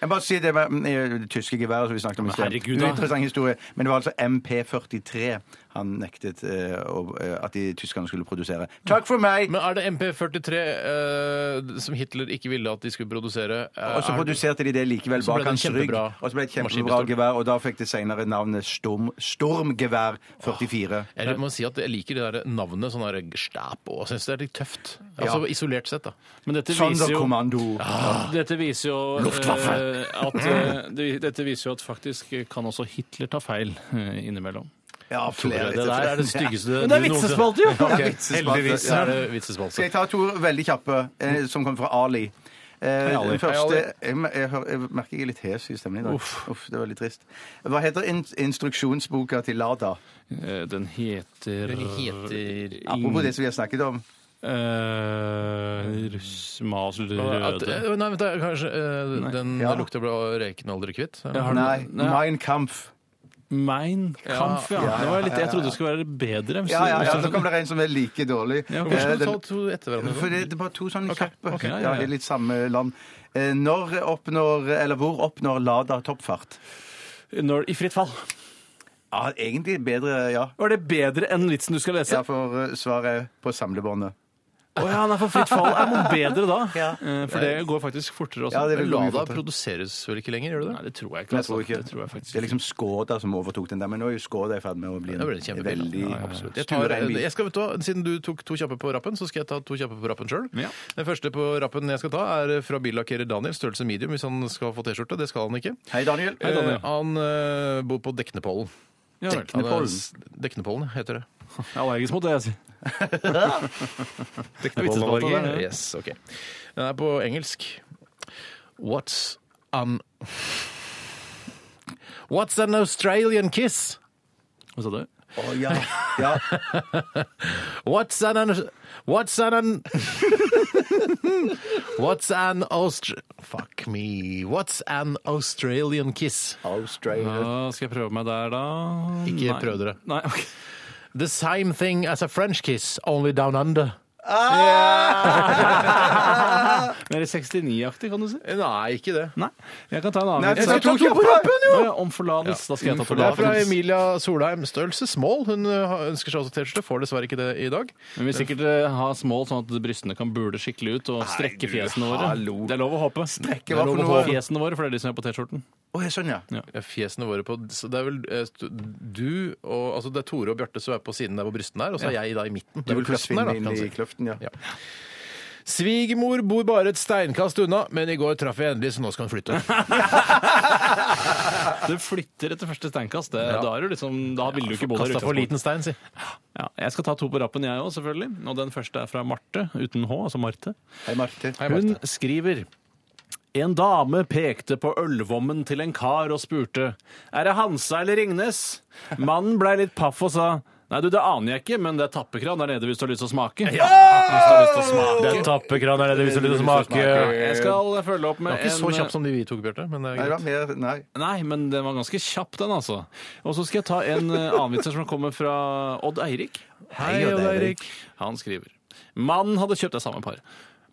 S4: Jeg bare sier det med mm, det tyske geværet som vi snakket om i sted.
S6: herregud, da.
S4: Uinteressant historie. Men det var altså MP43 han nektet eh, å- eh, at de tyskerne skulle produsere. Takk for meg!
S5: Men er det MP43 eh, som Hitler ikke ville at de skulle produsere? eh,
S4: Og så
S5: er det-
S4: produserte de det likevel
S5: Så ble
S4: bak
S5: det en
S4: hans rygg.
S5: kjempebra
S4: Og så ble det et kjempebra
S5: maskinpistol.
S4: gevær, og da fikk det senere navnet Storm, Stormgevær 44.
S5: Jeg må si at jeg liker det der navnet sånn der Gestapo. og Jeg synes det er litt tøft. Altså Isolert sett, da.
S6: Men dette viser jo Ah.
S4: Sonderkommando.
S6: Dette viser jo
S5: Luftwaffe.
S6: eh, at, eh, det- dette viser jo at faktisk kan også Hitler ta feil eh, innimellom.
S4: Ja, flere.
S5: Det der er det styggeste
S6: Men det er
S5: du noensinne-
S6: vitsespalte, jo!
S5: Ja, ok.
S4: Det er vitsespalte.
S5: Heldigvis er det vitsespalte.
S4: Skal jeg ta to veldig kjappe eh, som kommer fra Ali? Eh,
S6: Ali.
S4: den
S5: Hei, Ali.
S4: første, jeg, mer- jeg, hører- jeg merker jeg er litt hes i stemmen i dag. Uff. det var litt trist. Hva heter in instruksjonsboka til Lada?
S6: Eh, Den heter
S5: Den heter
S4: Apropos det som vi har snakket om.
S6: eh, Russ... Mas
S5: At,
S6: Røde.
S5: eh, nei, vent, da, kanskje eh, Den
S4: Ja.
S5: lukter bra reken aldri kvitt.
S6: har den-
S4: Nei,
S6: Nei.
S4: Mein Kampf.
S6: Mein Kampf, ja.
S4: Ja,
S6: Det var litt,
S4: ja,
S6: jeg
S4: ja,
S6: trodde det skulle være bedre. hvis
S4: Ja, ja, ja,
S6: du-
S4: så kommer det en som er like dårlig.
S6: Ja, hvorfor
S5: Hvorfor
S4: Eh,
S5: skal du
S4: den-
S5: ta to etter hverandre?
S4: For det, det er bare to sånne kjappe.
S5: ok,
S6: ja,
S4: ja,
S6: ja, ja.
S4: I litt samme land. Eh, Når oppnår, eller hvor oppnår Lada toppfart?
S6: Når, I fritt fall.
S4: Ja, egentlig bedre, ja.
S6: Var det bedre enn vitsen du skal lese?
S4: Ja, for eh, svaret på samlebåndet.
S6: Å ja, nei, for fritt fall er noe bedre da.
S4: Ja.
S6: Eh, For det går faktisk fortere også.
S4: Ja, det vil gå mye
S5: Lada
S4: fortere.
S5: produseres vel ikke lenger, gjør det det?
S6: Nei, det tror jeg ikke.
S4: Jeg
S6: Altså.
S4: tror ikke.
S6: Det tror jeg faktisk
S4: Det er liksom Skåda som overtok den der, men nå er jo Skåda i ferd med å bli en
S5: Det ble en kjempebil.
S4: veldig
S5: Ja, ja, absolutt. Jeg tar,
S4: stuerein bil.
S5: jeg skal, vet du, hva, siden du tok to kjappe på rappen, så skal jeg ta to kjappe på rappen sjøl.
S6: Ja.
S5: Den første på rappen jeg skal ta, er fra billakkerer Daniel, størrelse medium, hvis han skal få T-skjorte. Det skal han ikke.
S4: Hei, Daniel.
S5: Eh, han eh, bor på Deknepollen.
S6: Ja, vel.
S5: Han er- Deknepollen heter det.
S6: Jeg er allergisk mot det, jeg sier. Vitsespalten,
S5: Deknepollen,
S6: ja.
S5: Yes, ok. Den er på engelsk. What's an What's an Australian kiss?
S6: Hva sa du?
S4: Å, ja. ja.
S5: What's an, an What's an, an What's an Austr... Fuck me. What's an Australian kiss?
S4: Australia.
S6: Da skal jeg prøve meg der, da.
S5: Ikke
S6: Nei.
S5: prøv dere.
S6: Nei, ok.
S5: The same thing as a French kiss, only down under.
S6: Mer 69-aktig, kan du si.
S5: Nei, ikke det.
S6: Nei. Jeg kan ta en annen.
S4: Nei,
S6: vits.
S4: jeg skal ta to på rappen,
S6: Å, ja, Om forlatelse. Da skal jeg ta
S5: Det er fra
S6: forlatelse.
S5: Emilia Solheim. Størrelse small. Hun ø, har- ønsker seg også T-skjorte, får dessverre ikke det i dag.
S6: Men vi vil sikkert eh, ha small, sånn at brystene kan bule skikkelig ut og strekke fjesene våre.
S4: hallo.
S6: Det er lov å håpe.
S4: Ikke hva
S5: Det er
S4: for
S5: lov
S4: noe. Å,
S6: Fjesene våre, for det er de som er på T-skjorten.
S4: ja, sånn, ja.
S5: Ja, eh, Fjesene våre på så Det er vel ø, st- du og altså Det er Tore og Bjarte som er på siden der hvor brysten er, og så er jeg da i midten. Det
S4: Du
S5: er vel
S4: vil
S5: kløften der, da,
S4: forsvinne inn
S5: kan man si.
S4: i kløften, ja.
S5: Ja. Svigermor bor bare et steinkast unna, men i går traff jeg endelig, så nå skal hun flytte.
S6: Du flytter etter første steinkast. Det,
S5: Ja.
S6: Da er du liksom, da vil du ikke bo der
S5: Kasta for
S6: utgangspunktet.
S5: liten stein, si.
S6: Ja, jeg skal ta to på rappen, jeg òg, selvfølgelig. Og den første er fra Marte, uten H, altså Marte.
S4: Hei, Marte.
S6: Hun skriver En dame pekte på ølvommen til en kar og spurte Er det Hansa eller Ringnes? Mannen blei litt paff og sa Nei, du, det aner jeg ikke, men det er tappekran der nede hvis du har lyst til å smake. Ja! Hvis du har lyst til å smake.
S5: Den tappekran er det hvis du vil smake.
S6: Jeg skal følge opp med
S5: Ikke så kjapp som de vi tok, Bjarte. Men det er
S4: Nei, det var
S5: greit.
S4: mer Nei.
S6: Nei, men den var ganske kjapp, den, altså. Og så skal jeg ta en eh, annen vits her som kommer fra Odd Eirik. Hei,
S4: Odd Eirik.
S6: Han skriver Mannen hadde kjøpt det samme par.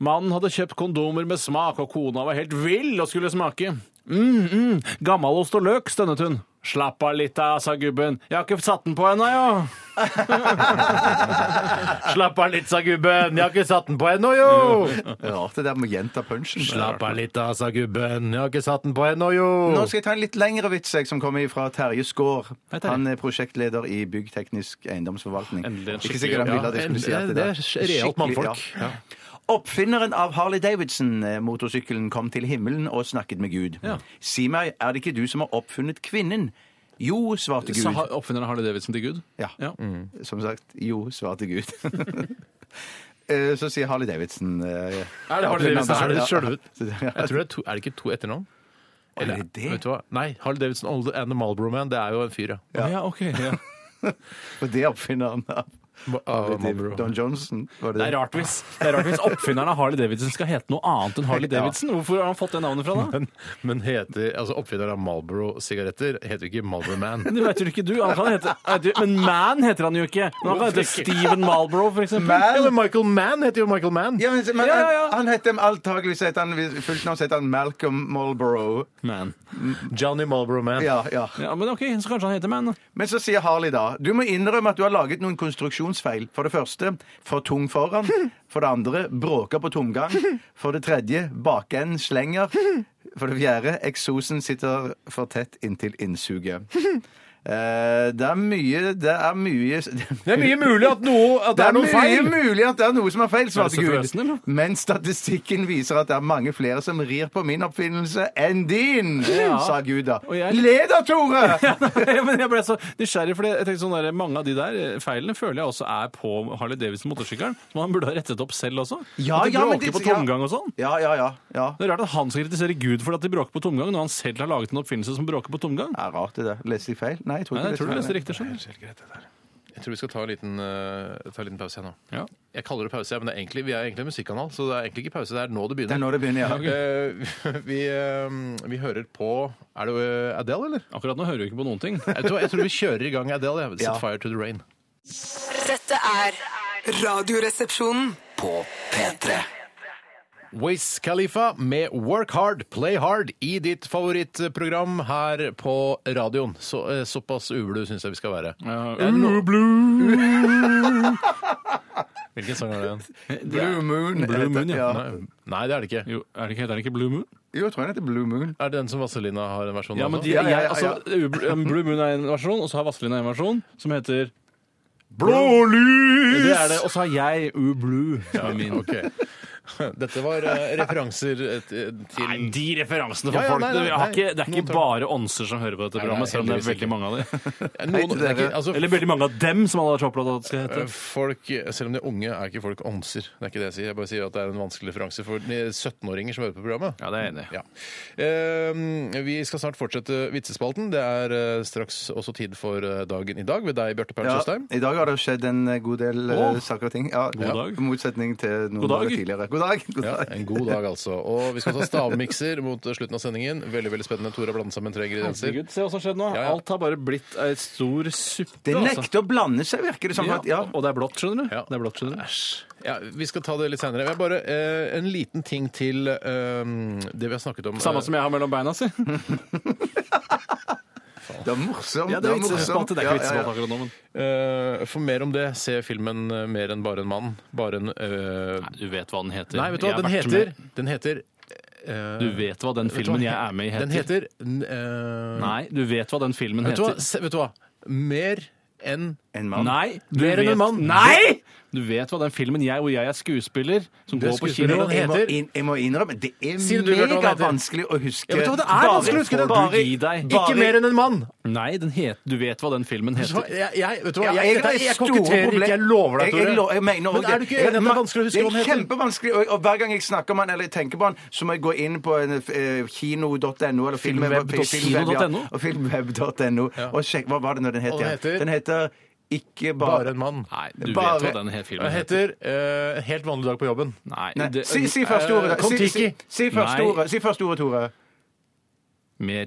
S6: Mannen hadde kjøpt kondomer med smak, og kona var helt vill og skulle smake. Mm, mm, Gammalost og løk, stønnet hun. Slapp av litt, da, sa gubben. Jeg har ikke satt den på ennå, jo.
S5: Slapp av litt, sa gubben. Jeg har ikke satt den på ennå, jo!
S4: Rart det der med å gjenta punchen.
S5: Slapp av litt, da, sa gubben. Jeg har ikke satt den på ennå, jo!
S4: Nå skal jeg ta en litt lengre vits jeg, som kommer fra Terje Skaar.
S6: Hei, Terje.
S4: Han er prosjektleder i Byggteknisk eiendomsvilforvaltning.
S6: Endelig en
S4: Ikke
S6: skikkelig
S4: sikkert han
S6: jobb.
S4: ville at jeg skulle si at
S5: det
S4: det
S5: er realt
S4: Skikkelig,
S5: mannfolk.
S4: ja. Oppfinneren av Harley Davidson-motorsykkelen kom til himmelen og snakket med Gud. Si meg, er det ikke du som har oppfunnet kvinnen? Jo, svarte Gud.
S6: Sa ha- oppfinneren Harley Davidson til Gud?
S4: Ja. Som sagt, jo, svarte Gud. Eh, Så sier Harley Davidson eh,
S6: Er det Harley Davidson?
S4: Ja.
S5: Er det sjølve-
S4: Ja.
S5: Jeg tror det er, to, er det ikke to etternavn?
S4: Er det det?
S5: Vet du hva? Nei, Harley Davidson Old and the Marlboro Man, det er jo en fyr, ja.
S6: Ja, ok. Ja.
S4: For det er oppfinneren av
S5: Av Marlboro.
S4: Don Johnson. Var
S6: Det
S4: det
S6: er rart hvis, det er rart hvis oppfinneren av Harley Davidson skal hete noe annet enn Harley
S4: Ja.
S6: Davidson. Hvorfor har han fått det navnet fra, da?
S5: Men, men heter, altså oppfinneren av Marlboro-sigaretter heter ikke Marlboro Man.
S6: Det vet jo ikke du. Han kan hete, vet du- men Man heter han jo ikke. Men han kan hete Steven Marlboro, for eksempel.
S5: Ja, men Michael Mann heter jo Michael Mann.
S4: Ja, men, men
S6: Ja, ja, ja.
S4: Han, han heter antagelig så heter han, Fullt navn så heter han Malcolm Marlborough.
S6: Man.
S5: Johnny Marlboro Man.
S4: Ja, ja.
S6: Ja, men ok, så kanskje han heter Man. da.
S4: Men så sier Harley da Du må innrømme at du har laget noen konstruksjonsfeil. For det første for tung foran. For det andre bråker på tomgang. For det tredje bakenden slenger. For det fjerde eksosen sitter for tett inntil innsuget. Eh, det er mye Det er mye
S5: Det er mye mulig at, noe, at det er noe
S4: mye
S5: feil.
S4: mulig at det er noe som er feil,
S6: Er det
S4: svarte
S6: så forløsende, eller?
S4: Gud. Men statistikken viser at det er mange flere som rir på min oppfinnelse enn din, sa Gud da.
S6: Og jeg-
S4: Leder, Tore!
S6: Ja, men jeg ble så nysgjerrig, for jeg tenkte sånn der, mange av de der eh, feilene føler jeg også er på Harley Davidson-motorsykkelen, som han burde ha rettet opp selv også.
S4: Ja,
S6: at de
S4: ja, men
S6: bråker
S4: det-
S6: på tomgang og sånn.
S4: Ja, ja, ja. ja.
S6: Det er rart at han skal kritisere Gud for at de bråker på tomgang, når han selv har laget en oppfinnelse som bråker på tomgang.
S4: Det er rart det der. Leste jeg feil? Nei, jeg tror
S6: Nei,
S4: ikke
S6: jeg tror du
S4: leste
S6: leste
S4: feil.
S6: riktig. skjønner du.
S5: Jeg tror vi skal ta en liten, eh, ta en liten pause her nå.
S6: Ja.
S5: Jeg kaller det pause, men det er egentlig, vi er egentlig en musikkanal, så det er egentlig ikke pause. Det er nå det
S4: Det er
S5: begynner.
S4: nå det begynner, ja.
S5: Eh, vi, eh, vi hører på Er det eh, Adele, eller?
S6: Akkurat nå hører vi ikke på noen ting. Eh,
S5: Jeg tror, jeg tror vi kjører i gang Adele. Jeg. Set
S4: Ja.
S5: fire to the rain.
S7: Dette er Radioresepsjonen.
S2: På P3.
S5: Wiz Khalifa med Work Hard, Play Hard i ditt favorittprogram her på radioen. Så, eh, såpass ublu syns jeg vi skal være. Hvilken sang er det igjen?
S4: Blue Moon.
S6: Blue
S4: heter-
S6: Moon, ja.
S4: ja.
S5: Nei, nei, det er det ikke.
S6: Jo, er det ikke, heter den ikke Blue Moon?
S4: Jo, jeg tror den heter Blue Moon.
S5: Er det den som Vazelina har en versjon
S6: Ja,
S5: av
S6: men
S5: nå?
S6: de,
S4: Ja, ja, ja,
S6: jeg, altså, Blue Moon er en versjon, og så har Vazelina en versjon som heter
S5: Blålys!
S6: Det er det, og så har jeg U Blue. Som er min.
S5: Ok. Dette var eh, referanser eh, til
S6: Nei, de referansene for
S5: Ja, ja,
S6: folk!
S5: nei, nei,
S6: det, jeg har
S5: nei.
S6: ikke, det er
S5: Noen
S6: ikke
S5: tar-
S6: bare ånser som hører på dette programmet, selv om det er
S5: heldigvis
S6: veldig mange av dem.
S5: Noen, det er ikke,
S4: dere.
S5: altså, eh,
S6: Eller veldig mange av dem, som alle har vært så opptatt av at det skal hete.
S5: Folk, selv om de er unge, er ikke folk ånser. Det er ikke det jeg sier. Jeg bare sier at det er en vanskelig referanse for de 17-åringer som hører på programmet.
S6: Ja, det er jeg enig i.
S5: Ja. Eh, vi skal snart fortsette vitsespalten. Det er eh, straks også tid for eh, dagen i dag ved deg, Bjarte Paul
S4: Ja,
S5: Tjøstheim.
S4: I dag har det skjedd en god del eh,
S6: Åh.
S4: saker og ting. Ja,
S6: God
S4: ja,
S6: dag.
S4: I motsetning til noen
S6: God dag.
S4: dager tidligere. God dag! God
S5: Ja,
S4: dag.
S5: en god dag, altså. Og vi skal ta stavmikser mot slutten av sendingen. Veldig veldig spennende. Tore har blandet sammen tre ingredienser.
S6: Herregud, se hva som har skjedd nå.
S5: Ja, ja.
S6: Alt har bare blitt ei stor suppe.
S4: Det
S6: altså.
S4: nekter å blande seg, virker det som.
S6: Ja,
S4: at- Ja.
S6: Og det er blått, skjønner du.
S5: Ja.
S6: Det er blått, skjønner du.
S5: Ja, vi skal ta det litt senere. Jeg har bare eh, en liten ting til eh, det vi har snakket om. eh,
S6: Samme som jeg har mellom beina, si.
S4: Det er morsomt.
S6: Ja, det er vitsespalt. Det er ikke
S4: Ja, ja,
S6: vitsespalt
S4: ja.
S6: akkurat nå, men
S5: Eh, for mer om det, se filmen eh, Mer enn bare en mann. Bare en eh,
S6: du vet hva den heter.
S5: Nei, vet du hva,
S6: Jeg har
S5: den
S6: vært
S5: heter
S6: med-
S5: Den heter eh,
S6: Du vet hva den filmen jeg er med i, heter.
S5: Den heter eh,
S6: Nei, du vet hva den filmen
S5: Vet du, hva,
S6: heter.
S5: se, vet du hva? Mer enn
S4: En mann.
S6: Nei! Du
S5: Mer enn en
S6: vet-
S5: mann.
S6: Nei! Du vet hva den filmen jeg hvor jeg er skuespiller, som
S5: Du er
S6: går på
S5: skuespiller,
S6: kino
S5: den
S4: Jeg må,
S5: heter-
S4: inn, jeg må innrømme, det er
S5: Si det du hørte hva den heter.
S4: megavanselig å huske.
S5: Ja, vet du hva, det er
S4: Bare-
S5: vanskelig å huske det.
S4: Bare-
S6: Gi deg.
S5: Ikke mer enn en mann!
S6: Nei, den het, du vet hva den filmen
S5: Vet du hva,
S6: heter.
S5: jeg, jeg, vet du hva,
S4: Ja, har
S5: jeg, dette- jeg
S4: store
S5: koketterer ikke,
S4: problem-
S5: jeg lover deg,
S4: Jeg- jeg lo-
S5: Tore.
S4: jeg mener
S5: Men
S4: også
S5: er du ikke
S4: Jeg-
S5: enig i at det er vanskelig å huske
S4: det er
S5: hva den heter?
S4: Kjempevanskelig. Og, og hver gang jeg snakker om han eller tenker på han, så må jeg gå inn på en, eh, kino.no eller filmweb-
S6: Filmweb-
S4: filmweb, ja,
S6: kino.no?
S4: og filmweb.no og sjekk Hva var det når den het
S5: Og den heter?
S4: igjen? Den heter Ikke
S5: Bare
S4: bare
S5: en mann.
S6: Nei, du
S4: Bare-
S6: vet hva den he- filmen
S5: Den
S6: heter.
S5: heter eh, Helt vanlig dag på jobben.
S6: Nei,
S4: Nei,
S6: det-
S4: si, si første ordet. da. Si, si,
S5: Eh, Kon-Tiki.
S4: si første
S6: Nei.
S4: ordet, si første ordet, Tore.
S6: Mer.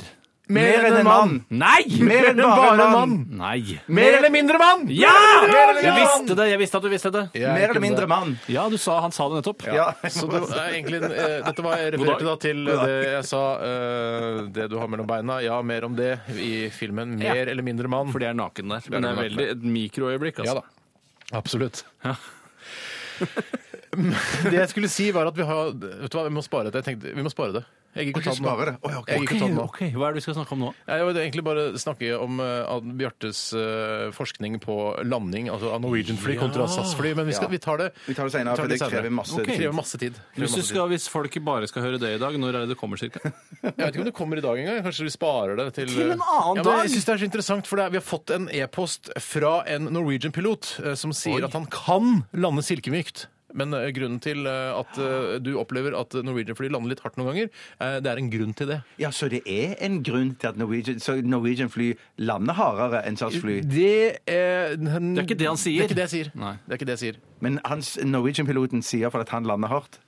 S5: Mer enn en mann!
S6: Nei!
S4: Mer enn bare en mann!
S6: Nei.
S5: Mer eller mindre mann!
S6: Ja!
S5: Mer eller
S6: Jeg
S5: mindre mann!
S6: visste det! Jeg visste at du visste det.
S5: Jeg er
S4: Mer
S5: ikke
S4: eller mindre
S5: det.
S4: mann.
S6: Ja, du sa, han sa det nettopp.
S4: Ja.
S5: Så det er egentlig, en, eh, dette var jeg
S6: God dag.
S5: refererte da til eh, det jeg sa eh, Det du har mellom beina. Ja, mer om det i filmen Mer
S6: Ja.
S5: eller mindre mann.
S6: For det er naken der. Men det er
S5: naken
S6: veldig et mikroøyeblikk.
S5: Ja
S6: Altså.
S5: da. Absolutt. det jeg skulle si, var at vi har Vet du hva, vi må spare det. Jeg tenkte, vi må spare det. Jeg gidder
S4: Å, ikke
S5: ikke ta den nå.
S4: spare det. Å, ja, ok.
S5: Jeg gidder ikke ta den nå.
S6: ok, Hva er det vi skal snakke om nå?
S5: Jeg vil egentlig bare snakke om eh, at Bjartes eh, forskning på landing, altså av Norwegian-fly kontra SAS-fly, men vi, skal, vi tar det
S4: Vi tar det senere, for det
S5: senere.
S4: krever masse
S5: Ok.
S4: tid.
S5: krever masse tid. Krever
S6: Hvis, du
S5: masse tid.
S6: skal, hvis folk bare skal høre det i dag, når er det det kommer cirka?
S5: Jeg vet ikke om det kommer i dag engang. Kanskje vi sparer det til eh,
S6: Til en annen
S5: ja, men
S6: dag!
S5: Jeg synes det er så interessant, for det er, Vi har fått en e-post fra en Norwegian-pilot eh, som sier at han kan lande silkemykt. Men eh, grunnen til eh, at eh, du opplever at Norwegian-fly lander litt hardt noen ganger, eh, det er en grunn til det.
S4: Ja, så det er en grunn til at Norwegian, så Norwegian fly lander hardere enn SAS fly.
S5: Det er, det
S6: ikke det han sier.
S5: Det er ikke det jeg sier.
S6: Nei.
S5: Det er ikke det jeg sier.
S4: Men hans Norwegian-piloten sier for at han lander hardt.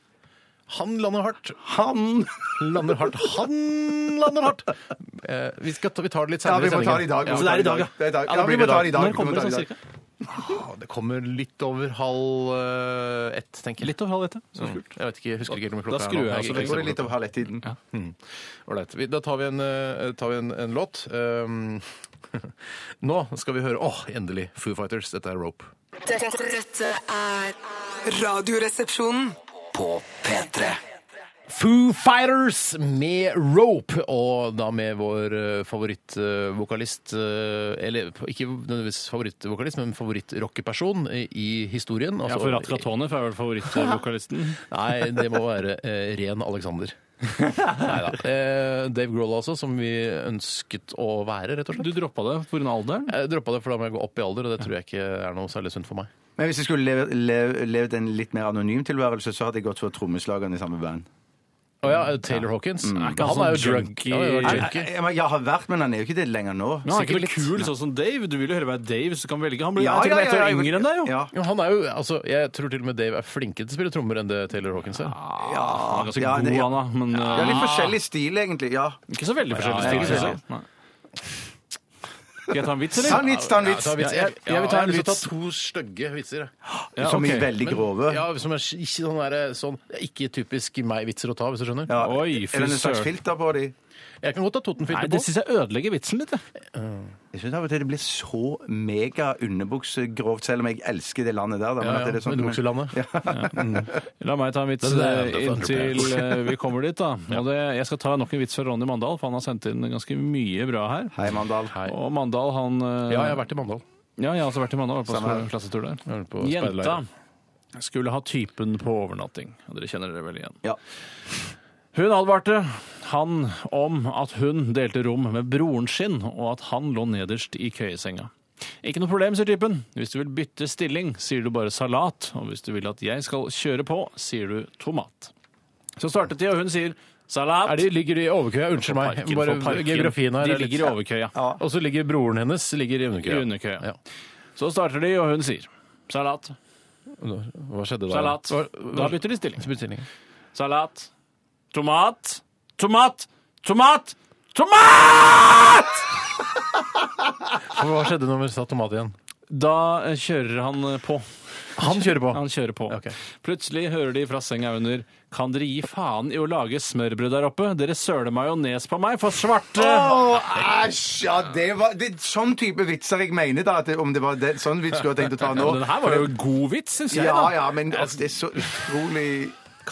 S5: Han lander hardt.
S4: Han!
S5: Lander hardt. Han lander hardt! Eh, vi, skal ta, vi tar det litt
S4: Ja,
S5: senere
S4: vi må ta det i dag.
S5: Ja,
S4: Vi må
S5: det,
S4: ta
S5: er i dag, ja.
S4: Det er i dag.
S5: Ja,
S4: Ja,
S5: da
S4: vi
S5: blir
S4: må
S5: det i
S4: ta
S5: dag.
S4: det i dag.
S6: Når
S4: Vi må
S6: kommer
S4: ta
S6: det sånn
S4: i dag.
S6: cirka?
S5: det kommer litt over halv eh, ett, tenker jeg.
S6: Litt over halv ett. ja. Så kult.
S5: Jeg vet ikke, jeg husker ikke helt om
S6: Da
S5: klokka
S6: skrur jeg
S5: er nå.
S6: av så
S5: Jeg-
S6: lenge.
S4: Jeg tror det er litt over halv ett-tiden.
S5: Ålreit. Vi- Mm. Da tar vi en, eh, tar vi en, en låt. Um, nå skal vi høre Åh, endelig! Foo Fighters. Dette er Rope.
S7: Dette, dette er Radioresepsjonen.
S2: På P3.
S5: Foo Fighters med Rope, og da med vår eh, favorittvokalist eh, Eller ikke nødvendigvis favorittvokalist, men favorittrockeperson i, i historien.
S6: Ja,
S5: altså-
S6: for Rat Katone for er vel favorittvokalisten.
S5: Nei, det må være eh, ren Alexander. Neida. Eh, Dave Grohl altså, som vi ønsket å være, rett og
S6: Du
S5: slett.
S6: droppa det pga. alderen?
S5: Jeg droppa det, for da må jeg gå opp i alder, og det tror jeg ikke er noe særlig sunt for meg.
S4: Men hvis jeg skulle leve- leve- levd en litt mer anonym tilværelse, så hadde jeg gått for trommeslageren i samme band.
S5: Å ja, Taylor Hawkins.
S6: Er ikke han
S5: han er jo
S6: sånn junkie?
S5: junkie. Ja, ja, junkie.
S4: Jeg, jeg, jeg har vært, men han er jo ikke det lenger nå.
S6: Men han er ikke
S5: Sikkert.
S6: kul sånn som Dave. Du vil jo høre være Dave, så du kan velge. Han blir til og med ett år yngre enn deg, jo.
S4: Ja.
S5: Jo, han er jo, altså, jeg tror til og med Dave er flinkere til å spille trommer enn det Taylor Hawkins er.
S6: Ja, han er ganske
S4: Ja, det-
S6: god, han da. Men
S4: Ja, litt
S6: uh,
S4: forskjellig stil, egentlig. Ja.
S6: ikke så veldig forskjellig
S5: Ja, ja,
S6: stil,
S5: ja, ja.
S6: synes jeg. Nei. Skal jeg ta en vits,
S4: Ta en
S6: eller?
S4: vits, ta en
S5: Ja,
S4: vits.
S5: ta en vits. Jeg, jeg vil ta
S6: Ja,
S5: en
S6: en
S5: vits. Ta
S6: vits.
S5: to stygge vitser. jeg.
S6: Ja,
S4: Som
S6: ok.
S4: er veldig grove.
S5: Ja, som er ikke sånn, der, sånn Ikke typisk meg-vitser å ta, hvis du skjønner.
S4: Ja.
S6: Oi,
S4: er det en slags
S6: frisør.
S4: filter på de?
S5: Jeg kan godt ta
S6: Nei,
S5: Totenfilter
S6: det
S5: på.
S6: syns jeg ødelegger vitsen litt. jeg.
S4: Jeg syns av og til det blir så mega underbuksegrovt, selv om jeg elsker det landet der. Da, men
S5: Ja,
S4: at
S5: ja,
S4: det er sånn-
S5: Underbukselandet.
S6: La meg ta en vits
S5: Det er
S6: eh,
S5: det andre
S6: inntil eh, vi kommer dit, da. Og det, jeg skal ta nok en vits fra Ronny Mandal, for han har sendt inn ganske mye bra her.
S4: Hei, Mandal.
S6: Og Mandal, han eh,
S5: Ja, jeg har vært i Mandal.
S6: Ja, jeg har også vært i Mandal. Var på
S4: Samme her.
S6: klassetur der.
S5: Jeg har vært på
S6: Jenta
S5: speiderleir.
S6: skulle ha typen på overnatting. Og Dere kjenner dere vel igjen.
S4: Ja.
S6: Hun advarte han om at hun delte rom med broren sin, og at han lå nederst i køyesenga. Ikke noe problem, sier typen. Hvis du vil bytte stilling, sier du bare salat. Og hvis du vil at jeg skal kjøre på, sier du tomat. Så startet de, og hun sier salat.
S5: Er de, ligger de i overkøya? Unnskyld meg.
S6: Parken,
S5: Bare
S6: for parken.
S5: geografien her.
S6: De
S5: er litt-
S6: ligger i overkøya.
S5: Og så ligger broren hennes ligger i underkøya.
S6: I underkøya.
S5: Ja.
S6: Så starter de, og hun sier salat,
S5: Hva skjedde da?
S6: salat.
S5: Hva-
S6: Da
S5: hva-
S6: bytter de stilling.
S5: Bestillingen.
S6: Salat. Tomat. Tomat. Tomat. Tomat!
S5: Hva skjedde når vi sa tomat igjen?
S6: Da eh, kjører han eh, på.
S5: Han kjører på.
S6: Han kjører på.
S5: Ok.
S6: Plutselig hører de fra senga under Kan dere gi faen i å lage smørbrød der oppe? Dere søler majones på meg, for svarte!
S4: Å, Æsj! Ja, det var det er sånn type vitser jeg mener, da. At det, om det var det, sånn vits du har tenkt å ta
S6: Ja,
S4: nå.
S6: men den her var jo god vits, syns jeg.
S4: Ja,
S6: da.
S4: ja, men altså, det er så utrolig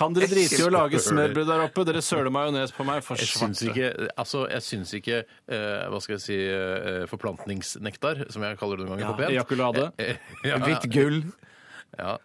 S6: Kan dere drite i å lage smørbrød der oppe? Dere søler majones på meg, for
S5: Jeg syns
S6: svarte.
S5: ikke, altså, jeg syns ikke eh, hva skal jeg si, eh, forplantningsnektar, som jeg kaller det noen ganger på pent.
S6: Ejakulade.
S5: Eh, ja,
S4: Hvitt gull.
S5: ja.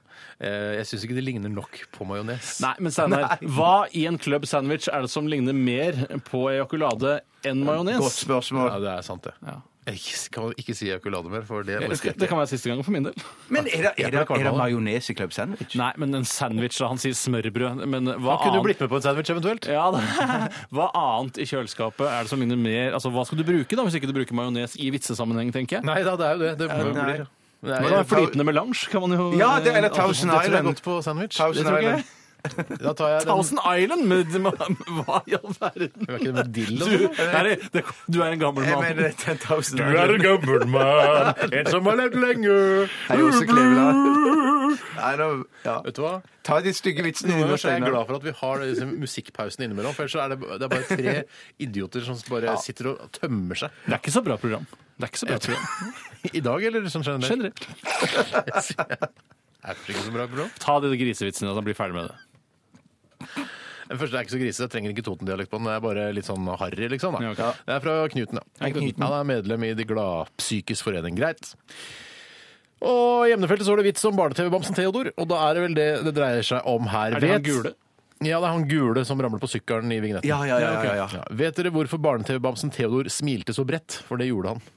S5: Eh, jeg syns ikke det ligner nok på majones.
S6: Nei, men Steinar, hva i en club sandwich er det som ligner mer på ejakulade enn
S4: Godt
S6: majones?
S5: Ja,
S4: spørsmål.
S5: det er sant, det.
S6: Ja.
S5: Jeg kan ikke si ejakulade mer, for det
S6: Det
S5: elsker jeg
S6: kan være siste gangen for min del.
S4: Men er det, er det, er det
S5: kvalme.
S4: majones i Club Sandwich?
S6: Nei, men en sandwich, da. Han sier smørbrød. Men hva
S5: Kunne du
S6: annet?
S5: blitt med på en sandwich eventuelt?
S6: Ja, da. Hva annet i kjøleskapet er det som ligner mer Altså, Hva skal du bruke da, hvis ikke du bruker majones i vitsesammenheng, tenker jeg?
S5: Nei da, det er jo det. Det må jo
S4: Nei.
S5: bli det. Det er-
S6: Hva da, Flytende melange kan man jo
S4: Ja, det, eller
S6: altså,
S4: Thousand
S5: Det tror jeg
S4: Island.
S5: godt på sandwich.
S4: Thousand
S6: tror jeg.
S4: Island.
S5: Da tar jeg den.
S6: Thousand Island? Men, det må- hva i all verden?
S5: Er ikke det med dill og
S6: Du, nei, det, du er en gammel
S4: Jeg
S6: mann.
S4: mener det er Thousand
S5: Du er en
S4: Island.
S5: gammel mann, sånn. en som har levd lenge.
S4: Hei, Åse Kleveland. Nei, nå- ja.
S5: Vet du hva?
S4: Ta de stygge vitsene
S5: Noen
S4: dine,
S5: ganger så er jeg
S4: Steinar.
S5: glad for at vi har disse musikkpausene innimellom, for ellers så er det, det er bare tre idioter som bare sitter og tømmer seg.
S6: Det er ikke så bra program. Det er ikke så bra program.
S5: I dag, eller sånn generelt?
S6: Generelt.
S5: Er det ikke så bra program?
S6: Ta de grisevitsene, så blir ferdig med det.
S5: Den første er ikke så grisete, jeg trenger ikke Toten-dialekt på den. Det er bare litt sånn harry, liksom. Da.
S6: Ja, ok.
S5: Det er fra Knuten, da. Han er medlem i De gladpsykes forening. Greit. Og i emnefeltet så er det vits om barne-TV-bamsen Theodor, og da er det vel det det dreier seg om her.
S6: Er det han
S5: Vet-
S6: gule?
S5: Ja, det er han gule som ramler på sykkelen i vignetten.
S4: Ja, ja, ja, ja, ja.
S5: Vet dere hvorfor barne-TV-bamsen Theodor smilte så bredt? For det gjorde han.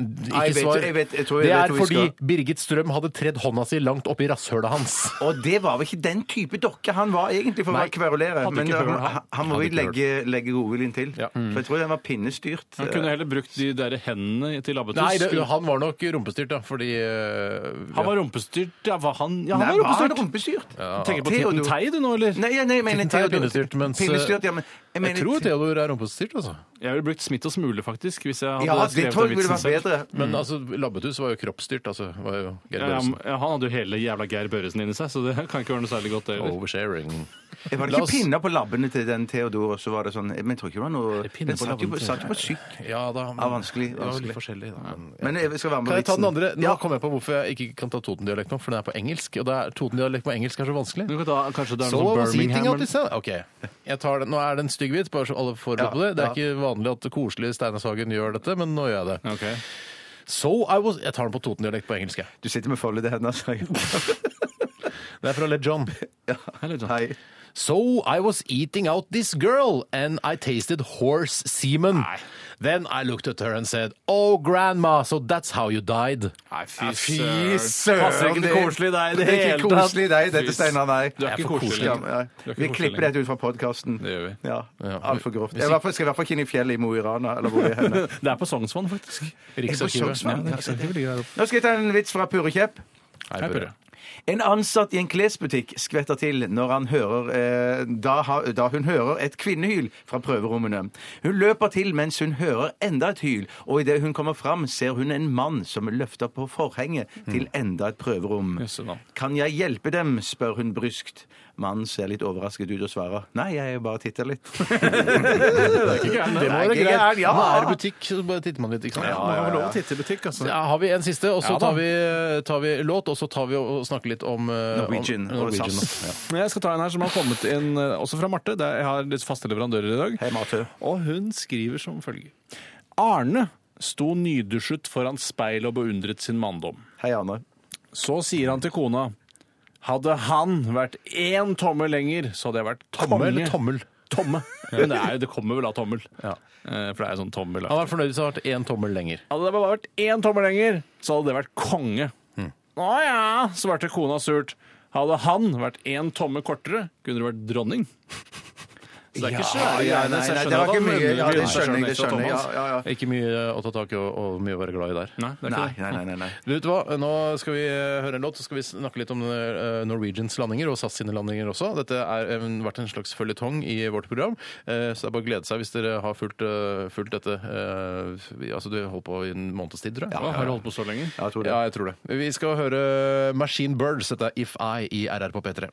S5: Ikke
S4: jeg vet- jeg vet- jeg tror jeg
S5: det
S4: vet
S5: er
S4: hvor vi
S5: fordi
S4: skal.
S5: Birgit Strøm hadde tredd hånda si langt opp i rasshølet hans.
S4: Og det var vel ikke den type dokke han var egentlig, for å
S5: Nei,
S4: bare kverulere.
S5: hadde
S4: Men
S5: ikke hørt
S4: han,
S5: han.
S4: han må
S5: Hadde
S4: vi
S5: ikke hørt.
S4: legge, legge godviljen til.
S5: Ja.
S4: For jeg tror den var pinnestyrt. eh,
S6: Han kunne heller brukt de der hendene til labbetuss.
S5: Nei, det,
S6: Skulle-
S5: han var nok rumpestyrt, da, fordi eh,
S6: han var rumpestyrt. Ja, var han, ja, han
S4: Nei,
S6: var
S4: var han
S6: rumpestyrt.
S4: rumpestyrt?
S6: Du tenker på
S4: Theodor.
S6: Titten Tei, du nå, eller?
S4: Nei, ja, nei, jeg mener
S5: Titten Tei er
S4: Theodor-
S5: pinnestyrt, mens- eh,
S4: Pinnestyrt, ja, men jeg
S5: Jeg
S4: mener
S5: tror Theodor er rumpestyrt, altså.
S6: Jeg ville brukt Smith og Smule, faktisk, hvis jeg hadde
S4: Ja, det
S6: skrevet
S4: tror jeg
S6: den
S4: ville
S6: vitsen
S4: vært
S6: selv.
S4: bedre.
S5: Men altså, Labbetuss var jo kroppsstyrt, altså. Var jo Geir
S6: Ja,
S5: Børresen.
S6: ja, han hadde jo hele jævla Geir Børresen inni seg, så det kan ikke være noe særlig godt, det heller.
S5: Oversharing.
S4: Jeg var det
S5: La
S4: ikke
S5: oss-
S4: pinner på labbene til den Theodor, og så var det sånn Men jeg tror ikke det var noe
S6: pinner
S4: Den
S6: på
S4: satt jo
S6: labbene
S4: på-
S6: til-
S4: satt jo på syk.
S5: Ja da. Men,
S4: Ja, vanskelig,
S5: Det var
S4: vanskelig.
S5: litt forskjellig, da. Men,
S4: Men jeg skal være med
S5: Kan jeg ta den andre? Nå
S4: Ja.
S5: kom jeg på hvorfor jeg ikke kan ta Toten-dialekt nå, for den er på engelsk. Og det er Toten-dialekt på engelsk er så vanskelig.
S6: Du kan ta, kanskje det er noe
S5: So I
S6: sånn
S5: was eating
S6: Birmingham
S5: out this Ok, jeg tar den. Nå er det en stygg vits, bare så alle er forberedt
S4: Ja,
S5: på det. Det er
S4: ja.
S5: ikke vanlig at koselige Steinar Sagen gjør dette, men nå gjør jeg det.
S6: Ok.
S5: So I was Jeg tar den på Toten-dialekt på engelsk, jeg.
S4: Du sitter med foldet i hendene, altså.
S5: Det er fra Le John.
S4: Hei.
S5: So I was eating out this girl, and I tasted horse semen. Then I looked at her and said, Oh, grandma, so that's how you died.
S6: Nei, fy
S5: søren.
S6: Passer ikke til koselig deg i det
S4: Det er
S6: hele
S4: ikke
S6: tatt.
S4: koselig, nei. Dette, Steinar, nei.
S6: Du er ikke
S5: for
S6: koselig.
S4: Ja, nei.
S6: Du er ikke
S4: Vi
S6: koselig
S4: klipper
S6: lenger.
S4: dette ut fra podkasten.
S6: Det gjør vi.
S4: Ja,
S5: Ja.
S4: Altfor grovt.
S5: Hvis
S4: Jeg i hvert fall- skal i hvert fall ikke inn i fjellet i Mo i Rana. Eller hvor det er henne.
S6: Det er på Sognsvann, faktisk.
S4: Er det på
S5: Riksarkivet.
S4: Sognsvann?
S6: sånn.
S5: Ja,
S4: Nå skal jeg ta en vits fra Pure Kjepp.
S5: Hei, Børre.
S4: En ansatt i en klesbutikk skvetter til når han hører, eh, da, ha- da hun hører et kvinnehyl fra prøverommene. Hun løper til mens hun hører enda et hyl, og idet hun kommer fram, ser hun en mann som løfter på forhenget til enda et prøverom.
S6: Hmm. Jøsse navn.
S4: Kan jeg hjelpe dem? spør hun bryskt. Mannen ser litt overrasket ut og svarer nei, jeg bare titter litt.
S5: Det må være
S4: ikke gærent,
S5: greit.
S4: ja.
S5: Nær butikk, så bare titter man litt, ikke sant?
S6: Man har lov å titte i butikk, altså.
S5: Ja, har vi en siste, og så
S6: Ja, da.
S5: tar, vi, tar vi låt, og så tar vi og snakker litt om eh,
S4: Norwegian
S5: om,
S4: og
S5: Norwegian.
S4: SAS.
S5: Ja.
S6: Men Jeg skal ta en her som har kommet inn eh, også fra Marte. Det er, jeg har litt faste leverandører i dag.
S4: Hei, Marte.
S6: Og hun skriver som følger. Arne sto nydusjet foran speilet og beundret sin manndom.
S4: Hei, Arne.
S6: Så sier han til kona. Hadde han vært én tommel lenger, så hadde jeg vært
S5: Tomme
S6: konge.
S5: eller tommel?
S6: Tomme. Men det, er, jo- det kommer vel av tommel. Eh, For det er jo sånn tommel.
S5: Han var fornøyd hvis det hadde vært én tommel lenger.
S6: Hadde det bare vært én tommel lenger, så hadde det vært konge.
S4: Hmm.
S6: Å ja, svarte kona surt. Hadde han vært én tomme kortere, kunne det vært dronning. Så det er ikke svære
S4: ja,
S6: greiene.
S4: nei,
S6: så jeg
S4: nei, det var ikke
S6: skjønner at han
S4: mye.
S6: mener
S4: Ja, det
S6: mye. Jeg
S4: skjønner jeg, det
S6: ekstra
S4: skjønner jeg.
S6: Thomas.
S4: Ja, ja, ja.
S5: Ikke mye å ta tak i og, og mye å være glad i der.
S6: Nei, det er ikke
S4: Nei,
S6: det.
S4: nei, nei, nei, nei.
S5: Du vet hva, Nå skal vi eh, høre en låt, så skal vi snakke litt om eh, Norwegians landinger og SAS sine landinger også. Dette har vært en slags føljetong i vårt program, eh, så det er bare å glede seg hvis dere har fulgt, eh, fulgt dette. eh, vi- Altså, Du holdt på i en måneds tid, tror jeg.
S6: Å, Har du holdt på så lenge?
S4: Ja, jeg tror det.
S5: Ja, jeg tror det. Vi skal høre Machine Birds. Dette er If I i RR på P3.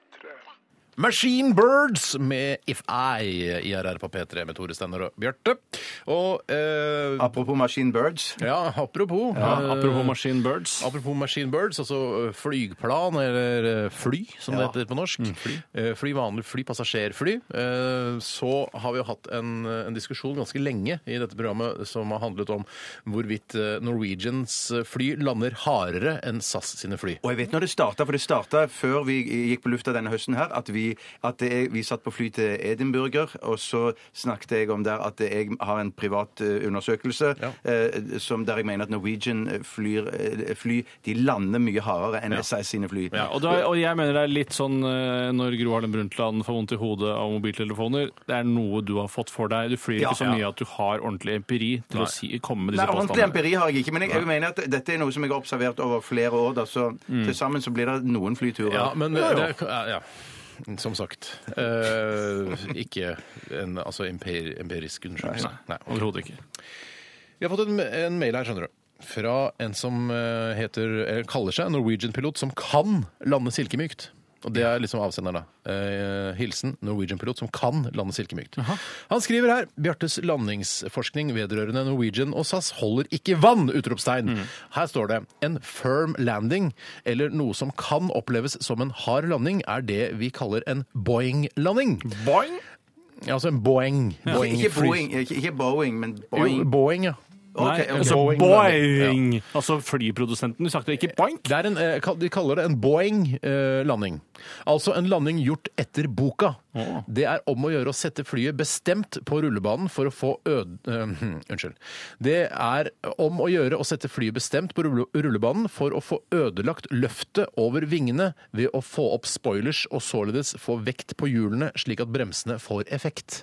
S5: Machine Birds med If I i RR på P3 med Tore Steinar og Bjarte. Og eh,
S4: Apropos Machine Birds.
S5: ja, apropos
S6: Ja,
S5: eh,
S6: apropos Machine Birds.
S5: Apropos Machine Birds, altså ø, flygplan, eller ø, fly, som det heter på norsk. Mm, Fly. fly, vanlig fly, passasjerfly. Eh, Så har vi jo hatt en, øh, en diskusjon ganske lenge i dette programmet som har handlet om hvorvidt eh, Norwegians øh, fly lander hardere enn SAS sine fly.
S4: Og jeg vet når det starta, for det starta før vi gikk på lufta denne høsten her, at vi, at det er, vi satt på fly til Edinburgh, og så snakket jeg om der at jeg har en privat eh, undersøkelse
S5: Ja.
S4: eh, som der jeg mener at Norwegian flyr, eh, fly de lander mye hardere enn SAS sine fly.
S6: Ja, og, det er, og jeg mener det er litt sånn eh, når Gro Harlem Brundtland får vondt i hodet av mobiltelefoner. Det er noe du har fått for deg. Du flyr
S4: Ja.
S6: ikke så mye at du har ordentlig empiri til
S5: Nei.
S6: å si, komme med
S4: Nei,
S6: disse
S4: Ordentlig
S6: påstandene.
S4: empiri har jeg ikke, men jeg, jeg mener at dette er noe som jeg har observert over flere år. Da, så til sammen så blir det noen flyturer.
S5: Mm. Ja, men
S4: Jo, jo.
S5: det, ja, ja. Som sagt. Eh, ikke en altså, imper, empirisk undersøkelse. Nei, ok.
S6: Overhodet ikke.
S5: Vi har fått en, en mail her, skjønner du. Fra en som eh, heter, eller kaller seg en Norwegian-pilot som kan lande silkemykt. Og det er liksom avsenderen, da. Eh, hilsen Norwegian-pilot som kan lande silkemykt. Han skriver her Bjartes landingsforskning vedrørende Norwegian og SAS holder ikke vann! utropstegn. Her står det en firm landing, eller noe som kan oppleves som en hard landing, er det vi kaller en Boeing-landing.
S6: Boing!
S5: Ja, altså en Boeing. Boeing
S4: Ikke
S5: fly.
S4: Boeing, ikke, ikke Boeing men
S5: Jo,
S4: Boeing.
S5: Boeing, ja.
S6: Nei,
S4: Ok, ok.
S6: altså
S5: Boing.
S6: boing! Altså flyprodusenten. Du sagte ikke boink.
S5: Det er en, eh, kall- de kaller det en Boeing-landing. altså en landing gjort etter boka. Det er om å gjøre å sette flyet bestemt på rullebanen for å få øde... eh, unnskyld. Det er om å gjøre å sette flyet bestemt på rulle- rullebanen for å få ødelagt løftet over vingene ved å få opp spoilers og således få vekt på hjulene slik at bremsene får effekt.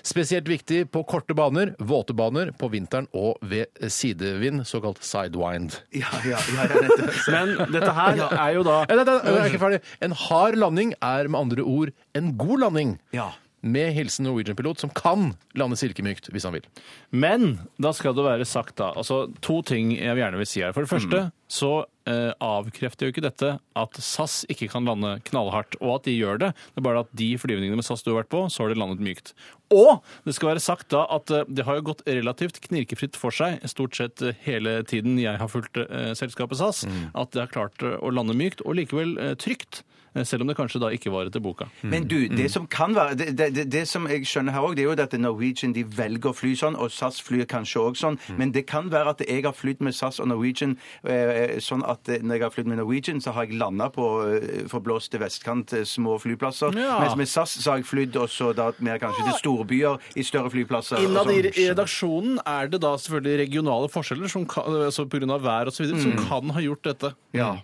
S5: Spesielt viktig på korte baner, våte baner, på vinteren og ved sidevind, såkalt sidewind.
S4: Ja, ja, ja, ja, nettopp.
S6: Men dette her er jo da
S5: Nei, nei, nei, jeg er ikke ferdig. En hard landing er med andre ord en god landing.
S6: Ja.
S5: Med hilsen Norwegian-pilot som kan lande silkemykt hvis han vil.
S6: Men da skal det være sagt, da. Altså, to ting jeg gjerne vil si her. For det første så eh, avkrefter jo ikke dette at SAS ikke kan lande knallhardt, og at de gjør det. Det er bare at de flyvningene med SAS du har vært på, så har de landet mykt. Og det skal være sagt da at eh, det har jo gått relativt knirkefritt for seg stort sett eh, hele tiden jeg har fulgt eh, selskapet SAS, at det har klart eh, å lande mykt og likevel eh, trygt. eh, Selv om det kanskje da ikke var etter boka.
S4: Men du,
S6: Mm.
S4: det som kan være Det, det, det, det som jeg skjønner her òg, det er jo at Norwegian de velger å fly sånn, og SAS flyr kanskje òg sånn,
S6: Mm.
S4: men det kan være at jeg har flydd med SAS og Norwegian eh, sånn at eh, når jeg har flydd med Norwegian, så har jeg landa på eh, forblåste vestkant, eh, små flyplasser,
S6: Ja.
S4: mens med SAS så har jeg flydd også da mer kanskje til storbyer, i større flyplasser. og
S6: Innad i
S4: sånn.
S6: i redaksjonen er det da selvfølgelig regionale forskjeller som kan, altså på grunn av vær og så videre, som kan ha gjort dette.
S4: Ja.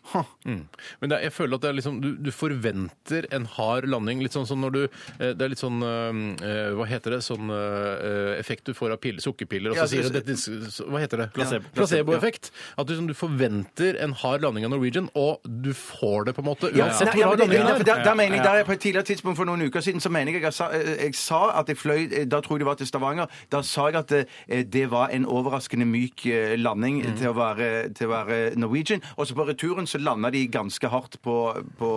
S5: Mm. Men det, er- jeg føler at det er liksom, du, du forventer en hard landing. Litt sånn som når du eh, Det er litt sånn eh, Hva heter det? Sånn eh, effekt du får av piller, sukkerpiller, og så
S4: Ja,
S5: sier
S4: så-
S5: du dette- så- Hva heter det?
S6: Placebo.
S5: Placeboeffekt. At du, liksom, du forventer en hard landing av Norwegian, og du får det på en måte
S4: Ja,
S5: uansett
S4: nei, ja,
S5: hvor
S4: men
S5: hard
S4: det-
S5: landingen
S4: ja,
S5: er.
S4: for der, der mener jeg, der jeg på et tidligere tidspunkt for noen uker siden så mener jeg jeg sa, jeg sa at jeg fløy eh, Da tror jeg det var til Stavanger. Da sa jeg at det, det var en overraskende myk eh, landing til, å være, til å være Norwegian. Og så på returen så landa de ganske hardt på, på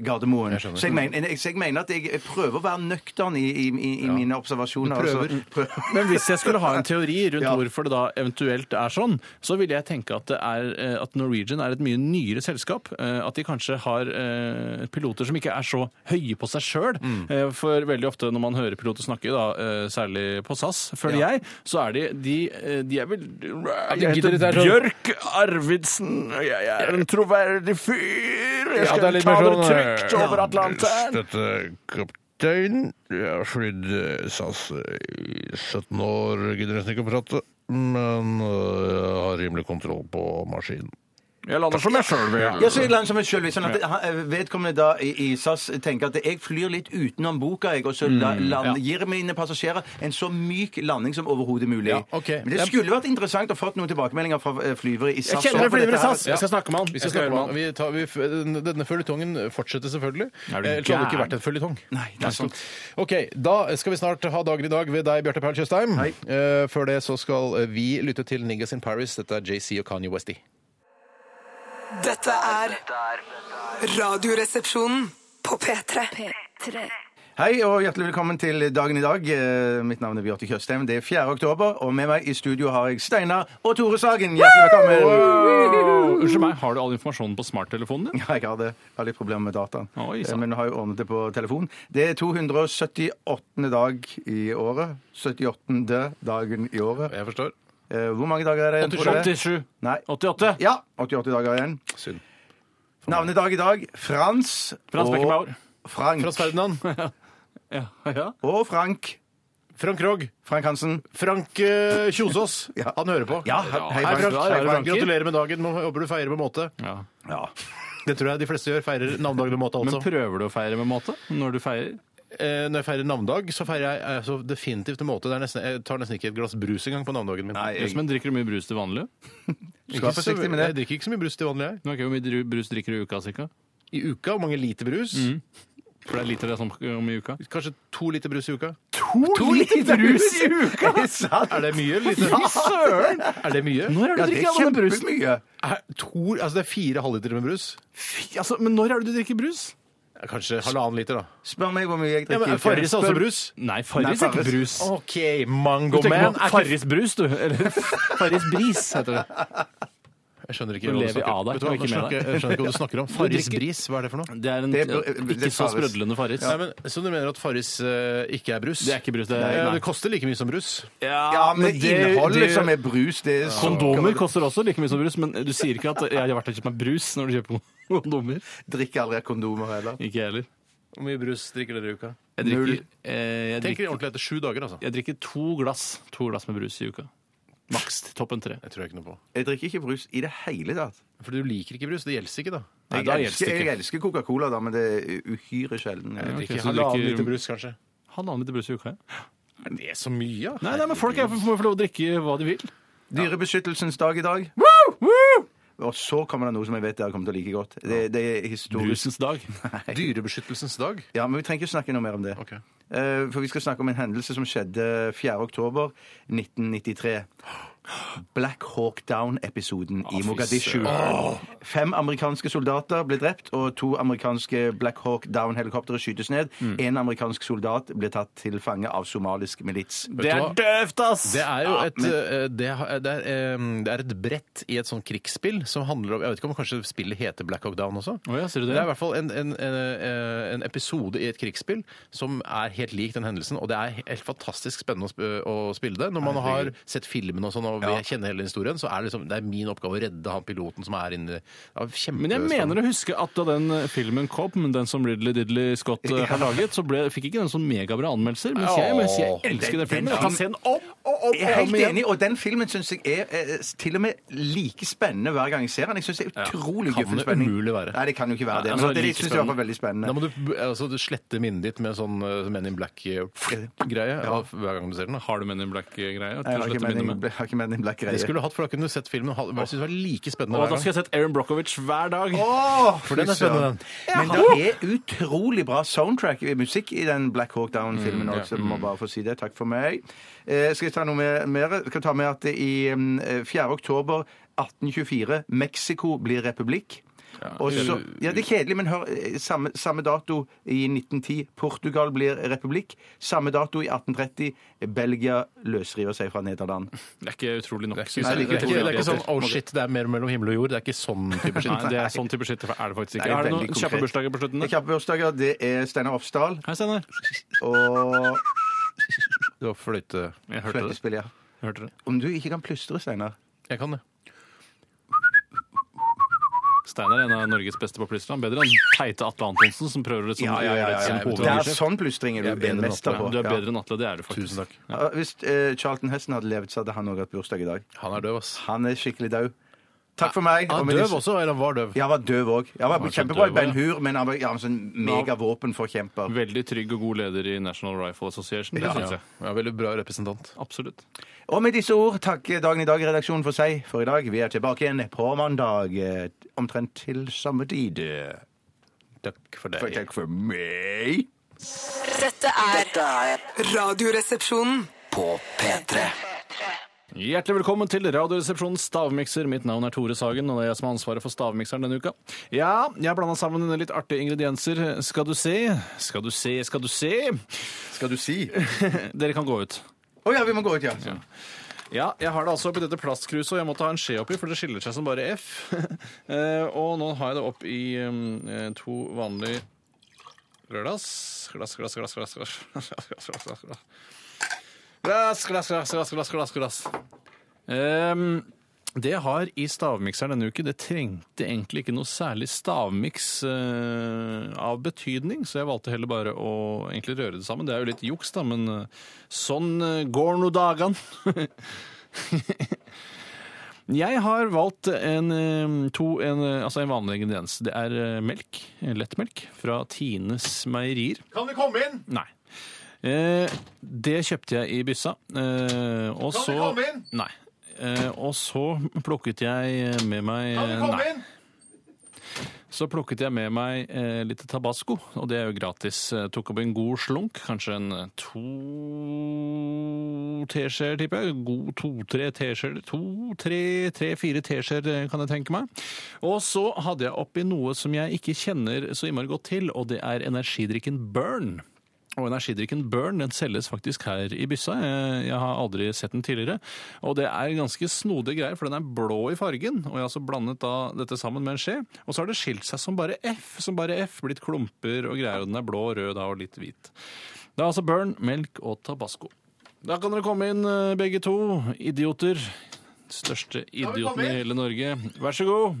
S4: Gardermoen. så, jeg mener, jeg, så jeg mener at jeg prøver å være nøktern i, i, i, i mine observasjoner.
S5: Du prøver.
S4: altså. Prøver.
S6: Men hvis jeg skulle ha en teori rundt
S4: Ja.
S6: hvorfor det da eventuelt er sånn, så ville jeg tenke at, det er, eh, at Norwegian er et mye nyere selskap. eh, At de kanskje har eh, piloter som ikke er så høye på seg sjøl.
S5: Mm.
S6: For veldig ofte når man hører piloter snakke, da, eh, særlig på SAS, føler jeg, så er de De, eh, de er vel
S5: de
S6: Jeg
S5: gidder
S6: heter
S5: ikke, det er sånn-
S6: Bjørk Arvidsen, og jeg er en troverdig fyr. Jeg
S5: Ja, det er
S6: skal
S5: litt
S6: ta
S5: mer
S6: dere
S5: sånn, eh,
S6: trygt over Atlanteren.
S8: Dette er eh, kaptein. Jeg har flydd eh, SAS i 17 år, gidder nesten ikke å prate. Men eh, jeg har rimelig kontroll på maskinen.
S6: Jeg lander som jeg sjøl vil.
S4: Ja, så jeg lander som en sjølvis. Sånn at han- vedkommende da i, i SAS tenker at jeg flyr litt utenom boka, jeg, og så la, land, gir mine passasjerer en så myk landing som overhodet mulig.
S5: Ja, ok.
S4: Men det skulle vært interessant å fått noen tilbakemeldinger fra eh, flyvere i SAS.
S6: Jeg kjenner en
S4: på dette
S6: flyver i
S4: her.
S6: SAS. Jeg skal snakke med han.
S5: Vi skal
S6: Jeg
S5: snakke
S6: høre
S5: om vi tar, vi, f- Denne føljetongen fortsetter selvfølgelig. Eh,
S6: Er du
S5: Ellers hadde det ikke
S6: gæren?
S5: vært en føljetong.
S4: Nei, det er sant.
S5: Ok, Da skal vi snart ha dagen i dag ved deg, Bjarte Perl Tjøstheim.
S4: Hei.
S5: Eh, før det så skal vi lytte til Niggas in Paris. Dette er JC og Kanye Westy.
S7: Dette er Radioresepsjonen på P3.
S4: Hei og hjertelig velkommen til dagen i dag. Eh, Mitt navn er Bjarte Tjøstheim. Det er 4. oktober, og med meg i studio har jeg Steinar og Tore Sagen. Hjertelig velkommen.
S6: Unnskyld meg, har du all informasjonen på smarttelefonen din?
S4: Ja, jeg har det. Jeg har litt problemer med dataen.
S6: Oi,
S4: Eh,
S6: sant.
S4: Men nå har jeg ordnet det på telefon. Det er 278. dag i året. 78. dagen i året.
S5: Jeg forstår.
S4: Eh, Hvor mange dager er det? igjen, tror dere?
S6: 87.
S4: Nei.
S6: 88.
S4: Ja, 88 dager igjen.
S5: Synd.
S4: Navnedag i dag Frans,
S6: Frans
S4: og
S6: Beckenbauer.
S5: Frans
S4: Frank.
S5: Ferdinand.
S6: Ja, ja.
S4: Og Frank.
S5: Frank Rogg.
S4: Frank Hansen.
S5: Frank eh, Kjosås.
S4: Ja.
S5: Han hører på.
S4: Ja, he- hei,
S5: Hei,
S4: Frank.
S5: Frank.
S4: Hei,
S5: Hei, Frank.
S6: Frank.
S5: Gratulerer med dagen. Må- Håper du feirer med måte.
S6: Ja.
S4: Ja.
S5: Det tror jeg de fleste gjør. Feirer navnedagen med måte,
S6: Men
S5: altså.
S6: prøver du å feire med måte når du feirer?
S5: Eh, når jeg feirer navnedag, så feirer jeg eh, så definitivt en måte. Det er nesten, jeg tar nesten ikke et glass brus engang på navnedagen min.
S4: Nei, jeg
S6: Men drikker du mye brus til vanlig?
S4: skal være forsiktig med
S5: Jeg
S4: det.
S5: drikker ikke så mye brus til vanlig. jeg.
S6: Nå er ikke Hvor mye dru- brus drikker du i uka, cirka?
S5: I uka, hvor mange liter brus?
S6: For det er liter det er snakk om i uka.
S5: Kanskje to liter brus i uka?
S4: To liter brus i uka! Er det sant?
S5: Er det mye? eller Lite? Ja, søren! Er det mye?
S6: Når er
S4: Ja, det
S6: det du drikker
S4: er
S6: all denne brusen?
S4: kjempemye.
S5: Er, to, altså det er fire halvlitere med brus.
S6: Altså, men når er det du drikker brus?
S5: Kanskje halvannen liter, da.
S4: Spør meg hvor mye jeg
S5: Ja,
S4: drikker. i
S5: men
S4: uken.
S5: Farris er altså også
S4: Spør-
S5: brus?
S6: Nei, Farris
S4: Nei,
S6: er ikke
S4: Farris.
S6: brus. Du
S5: OK,
S6: tenker
S5: Mangoman
S6: på Farris brus, du. Eller Farris bris, heter det.
S5: Jeg skjønner ikke
S6: Du
S5: hva du
S6: lever av deg,
S5: snakker- Vet du hva,
S6: og ikke med
S5: nå
S6: deg.
S5: snakker- jeg skjønner ikke hva du snakker om. Farris bris, hva er det for noe?
S6: Det er en
S4: Det er- det er
S6: ikke så
S4: Farris.
S6: sprødlende Farris.
S5: Nei, men, så du mener at Farris eh, ikke er brus?
S6: Det er ikke brus, det er-
S5: Ja,
S6: nei.
S5: det koster like mye som brus.
S4: Ja, men liksom innholdet som er brus, det er så-
S6: Kondomer koster også like mye som brus, men du sier ikke at 'jeg har vært og kjøpt meg brus' når du kjøper kondomer.
S4: Drikker aldri av kondomer heller.
S6: Ikke jeg heller.
S5: Hvor mye brus drikker dere i uka?
S6: Jeg drikker, eh, jeg
S5: Jeg drikker
S6: drikker,
S5: ordentlig etter sju dager, altså.
S6: jeg drikker to, glass, to glass med brus i uka. Maks til toppen tre.
S5: Jeg tror jeg ikke noe på.
S4: Jeg drikker ikke brus i det hele tatt.
S5: For du liker ikke brus. Det gjelder ikke, da.
S6: Nei,
S4: Jeg,
S6: da gjelder
S4: elsker,
S6: det
S4: jeg
S6: ikke.
S4: elsker Coca-Cola, da, men det er uhyre sjelden. Jeg drikker.
S5: Ikke
S6: så du
S5: halvannen
S6: drikker-
S5: liter brus, kanskje.
S6: Halvannen liter brus i uka, ja.
S5: Er det så mye?
S6: Nei, nei, men folk er, må jo få lov å drikke hva de vil.
S4: Dyrebeskyttelsens dag i dag. Og så kommer det noe som jeg vet dere kommer til å like godt. Det, det er historisk.
S6: Brusens dag.
S5: Dyrebeskyttelsens dag?
S4: Ja, men vi trenger ikke snakke noe mer om det.
S5: Ok.
S4: Eh, For vi skal snakke om en hendelse som skjedde 4. oktober 1993. Black Hawk Down-episoden i Mogadishu. Fem amerikanske soldater ble drept, og to amerikanske Black Hawk Down-helikoptre skytes ned. En amerikansk soldat ble tatt til fange av somalisk milits.
S6: Det er døvt, ass!
S5: Det er jo
S4: Ja,
S5: et, eh, det, har- det er, eh, det er et brett i et sånt krigsspill som handler om Jeg vet ikke om kanskje spillet heter Black Hawk Down også?
S6: Å ja, sier du det?
S5: Det er i hvert fall en, en, eh, en episode i et krigsspill som er helt lik den hendelsen, og det er helt fantastisk spennende å, sp å spille det. Når man har sett filmen og sånn og vi kjenner hele historien, så er det, liksom, det er min oppgave å redde han piloten som er inne ja, kjempe-
S6: Men jeg mener å huske at da den filmen kom, den som Ridley Diddley Scott eh, har laget, så ble, fikk ikke den sånn megabra anmeldelser. Mens jeg, mens jeg elsker den filmen. Jeg kan se den om og om,
S4: Jeg er
S6: og om
S4: helt
S6: igjen.
S4: enig, og den filmen syns jeg er eh, til og med like spennende hver gang jeg ser den. Jeg syns det er utrolig
S5: Kan
S4: guffen
S5: det
S4: spenning.
S5: umulig være?
S4: Nei, det kan jo ikke være det. Men
S6: altså,
S4: det
S6: like
S4: syns jeg i hvert fall
S6: spennende.
S4: veldig
S5: Da
S4: spennende.
S5: må du, altså, du slette minnet ditt med sånn eh, Men in Black-greie ja. hver gang du ser den. da.
S6: Har du Men in Black-greia?
S4: Jeg har ikke Men in- jeg har ikke med den black
S5: Det
S4: greie.
S5: skulle du hatt, for da kunne du sett filmen. og ha- Jeg synes det var like spennende
S6: Og
S5: hver
S6: da
S5: gang.
S6: skal jeg sett Aaron Brockovich hver dag.
S4: For
S5: den er spennende, den.
S4: Men det er utrolig bra soundtrack i musikk i den Black Hawk Down-filmen også. Må bare få si det. Takk for meg. Eh, skal jeg ta noe mer- mer? Skal jeg ta med at det i mm, eh, 4. oktober 1824 Mexico blir republikk. Og så, ja, det er kjedelig, men hør, eh, samme, samme dato i 1910 Portugal blir republikk. Samme dato i 1830 Belgia løsriver seg fra Nederland.
S6: Det er ikke utrolig nok.
S5: Det
S6: synes
S5: er,
S6: jeg.
S5: ikke, det, er ikke, det er ikke sånn
S6: Nei,
S5: 'oh shit, det er mer mellom himmel og jord'. Det er ikke sånn type shit.
S6: det er sånn type shit. for Er det faktisk
S4: Det
S6: ikke.
S4: er
S6: Har du
S4: veldig
S6: noen
S4: konkret.
S6: kjappe bursdager på slutten?
S4: Det er Kjappe bursdager. Det er Steinar Ofsdal
S6: Hei, Steinar.
S4: og
S5: Det var fløyte...
S6: Jeg hørte det.
S4: fløytespill, ja.
S6: Jeg hørte det.
S4: Om du ikke kan plystre, Steinar
S5: Jeg kan det.
S6: Steinar er en av Norges beste populister. Han er Bedre enn teite Atle Antonsen, som prøver liksom,
S4: Ja, ja, ja, ja,
S6: å gjøre
S5: ja,
S6: det
S5: jeg
S6: til
S5: vet
S4: Det
S6: en
S4: er
S5: Unnskyld.
S4: sånn plystring er
S5: Jeg er
S4: du
S5: bedre enn
S4: mester
S5: Atle.
S4: på.
S6: hovedgreie. Du er
S4: Ja.
S6: bedre enn Atle, det er du faktisk.
S5: Tusen takk.
S4: Ja, Hvis eh, Charlton Heston hadde levd, så hadde han òg hatt bursdag i dag.
S5: Han er døv, ass.
S4: Han er skikkelig død. Takk for meg.
S5: Han
S4: og
S5: er
S4: med
S5: døv
S4: disse-
S5: også, eller han var døv.
S4: Ja, han var døv òg. Han var
S6: så
S4: kjempebra i
S6: døv
S4: Ben
S6: også,
S4: Hur, men han var, ja, han var sånn megavåpenforkjemper.
S6: Veldig trygg og god leder i National Rifle Association. Det
S5: Ja,
S6: synes
S5: ja.
S6: jeg.
S5: Ja, veldig bra representant.
S6: Absolutt.
S4: Og med disse ord takker Dagen i dag-redaksjonen for seg for i dag. Vi er tilbake igjen på mandag eh, omtrent til samme tid.
S5: Takk for
S4: For-
S5: det.
S4: Takk for meg.
S7: Dette er
S2: Dette er
S7: Radioresepsjonen.
S2: på P3.
S6: Hjertelig velkommen til Radioresepsjonens stavmikser. Mitt navn er Tore Sagen, og det er jeg som har ansvaret for stavmikseren denne uka. Ja, jeg har blanda sammen litt artige ingredienser. Skal du se, skal du se, skal du se.
S4: Skal du si?
S6: Dere kan gå ut.
S4: Å ja, vi må gå ut, ja.
S6: Ja, jeg har det altså oppi dette plastkruset, og jeg måtte ha en skje oppi, for det skiller seg som bare F. Eh, og nå har jeg det opp i eh, to vanlige glass. Glass, glass, glass, glass, glass. Glass, glass, glass, glass. Glass, glass, glass, glass, glass, glass, glass. Ehm, det jeg har i stavmikseren denne uke, det trengte egentlig ikke noe særlig stavmiks eh, av betydning, så jeg valgte heller bare å egentlig røre det sammen. Det er jo litt juks, da, men eh, sånn eh, går nå dagene. jeg har valgt en, eh, to, en, eh, altså en vanlig ingrediens. Det er eh, melk, eh, lettmelk, fra Tines meierier.
S5: Kan vi komme inn?
S6: Nei. Eh, det kjøpte jeg i byssa. Eh, og
S5: Kan vi
S6: så
S5: komme inn?
S6: Nei. Eh, og så plukket jeg med meg Nei.
S5: inn?
S6: Så plukket jeg med meg eh, litt tabasco, og det er jo gratis. Eh, tok opp en god slunk, kanskje en eh, to teskjeer, tipper jeg. God to-tre teskjeer. To-tre-tre-fire teskjeer, eh, kan jeg tenke meg. Og så hadde jeg oppi noe som jeg ikke kjenner så innmari godt til, og det er energidrikken Burn. Og energidrikken Burn den selges faktisk her i byssa. Jeg jeg har aldri sett den tidligere. Og det er ganske snodige greier, for den er blå i fargen. Og jeg har altså blandet da dette sammen med en skje. Og så har det skilt seg som bare F, som bare F. Blitt klumper og greier. Og den er blå, rød da, og litt hvit. Det er altså Burn, melk og tabasco. Da kan dere komme inn, eh, begge to. Idioter. Største idioten i hele Norge. Vær så god.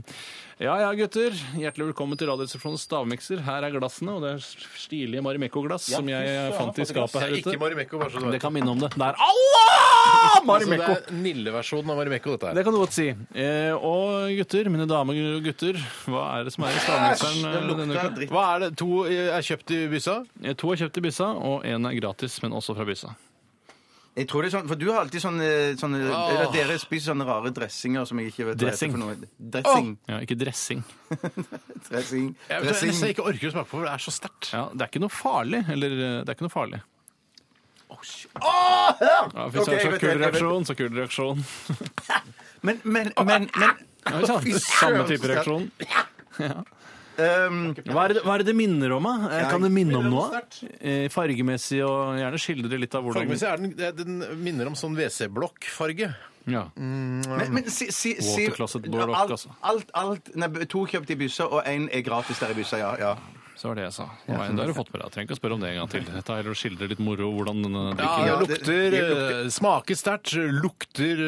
S6: Ja ja, gutter. Hjertelig velkommen til Radioresepsjonens stavmikser. Her er glassene, og det er stilige Marimekko-glass som jeg eh, fant i skapet her
S5: Ikke
S6: ute.
S5: Marimekko, bare så du
S6: Det
S5: vet.
S6: kan minne om det. Det er Allah!
S5: Altså, det
S6: Marimekko.
S5: er Nille-versjonen av Marimekko, dette her.
S6: Det kan du godt si. Eh, og gutter, mine damer og gutter, hva er det som er i stavmikseren eh, denne uka?
S5: Hva er det? To eh, er kjøpt i byssa?
S6: Eh, To er kjøpt i byssa, og én er gratis, men også fra byssa.
S4: Jeg tror det er sånn, for du har alltid sånne, sånne eller Dere spiser sånne rare dressinger som jeg ikke vet
S6: Dressing.
S4: hva heter for noe. Dressing.
S6: Ja, ikke dressing.
S4: Dressing.
S5: Jeg vet
S4: Dressing.
S5: nesten jeg ikke orker å smake på, for det er så sterkt.
S6: Ja, det er ikke noe farlig. Eller eh, det er ikke noe farlig. Ja, fy
S4: Ok,
S6: søren,
S4: jeg
S6: så
S4: vet
S6: kul
S4: det, jeg vet
S6: reaksjon, så kul reaksjon.
S4: Men, men, men, men
S6: Ja, ikke sant?
S4: Fy
S6: Samme
S4: søren, så
S6: type
S4: sterkt.
S6: reaksjon.
S4: ehm,
S6: Hva er, det, hva er det det minner om? da? Eh, Kan det minne om noe? Eh, Fargemessig, og gjerne skildre litt av hvordan
S5: Fargemessig er den, det- den minner om sånn WC-blokkfarge.
S6: ja.
S4: men, men si, si, si
S6: Watercloset Bordeaux,
S4: alt,
S6: altså.
S4: alt, alt Nei, to kjøpt i byssa, og én er gratis der i byssa, ja. ja.
S6: Så var det jeg sa. Nå er- Da har du fått med deg. Jeg Trenger ikke å spørre om det en gang til. Dette er å skildre litt moro hvordan eh, denne drikken
S5: Ja,
S4: Ja,
S5: det
S4: det-
S5: lukter,
S4: det
S5: eh, smaker sterkt, lukter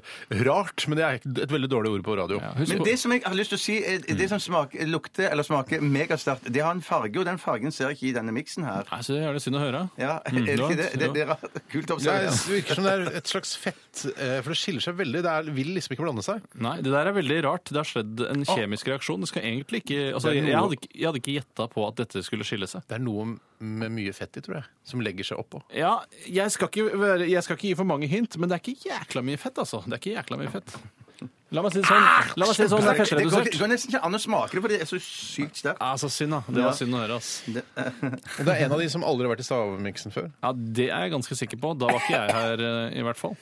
S5: eh, rart, men det er et veldig dårlig ord på radio.
S6: ja, Husk
S4: Men
S6: på Mm.
S4: det som jeg har lyst til å si, er det som smaker, lukter eller smaker megasterkt, det har en farge, og den fargen ser jeg ikke i denne miksen her.
S6: Nei, så det er det synd å høre.
S4: Ja, er det
S6: du har-
S4: ikke det? Det, det er rart. kult å
S5: Det er-
S4: observere.
S5: det virker som det er et slags fett, eh, for det skiller seg veldig. Det er, vil liksom ikke blande seg.
S6: Nei, det der er veldig rart. Det har skjedd en kjemisk reaksjon. Det skal egentlig ikke altså,
S5: Det er
S6: jeg,
S5: noe-
S6: jeg hadde ikke, jeg hadde ikke gjetta på at dette skulle skille seg.
S5: Det er noe med mye fett i, tror jeg, som legger seg oppå.
S6: Ja, jeg skal, ikke være, jeg skal ikke gi for mange hint, men det er ikke jækla mye fett, altså. Det er ikke jækla mye fett. La meg si det sånn. La meg si det sånn, det
S4: Ah, Det går,
S6: er
S4: det
S6: fettredusert.
S4: går nesten ikke an å smake det, for det er så sykt sterkt.
S6: Altså, synd, da. Det
S4: Ja.
S6: var synd å høre, ass.
S5: Og det er en av de som aldri har vært i stavmiksen før.
S6: Ja, det er jeg ganske sikker på. Da var ikke jeg her, eh, i hvert fall.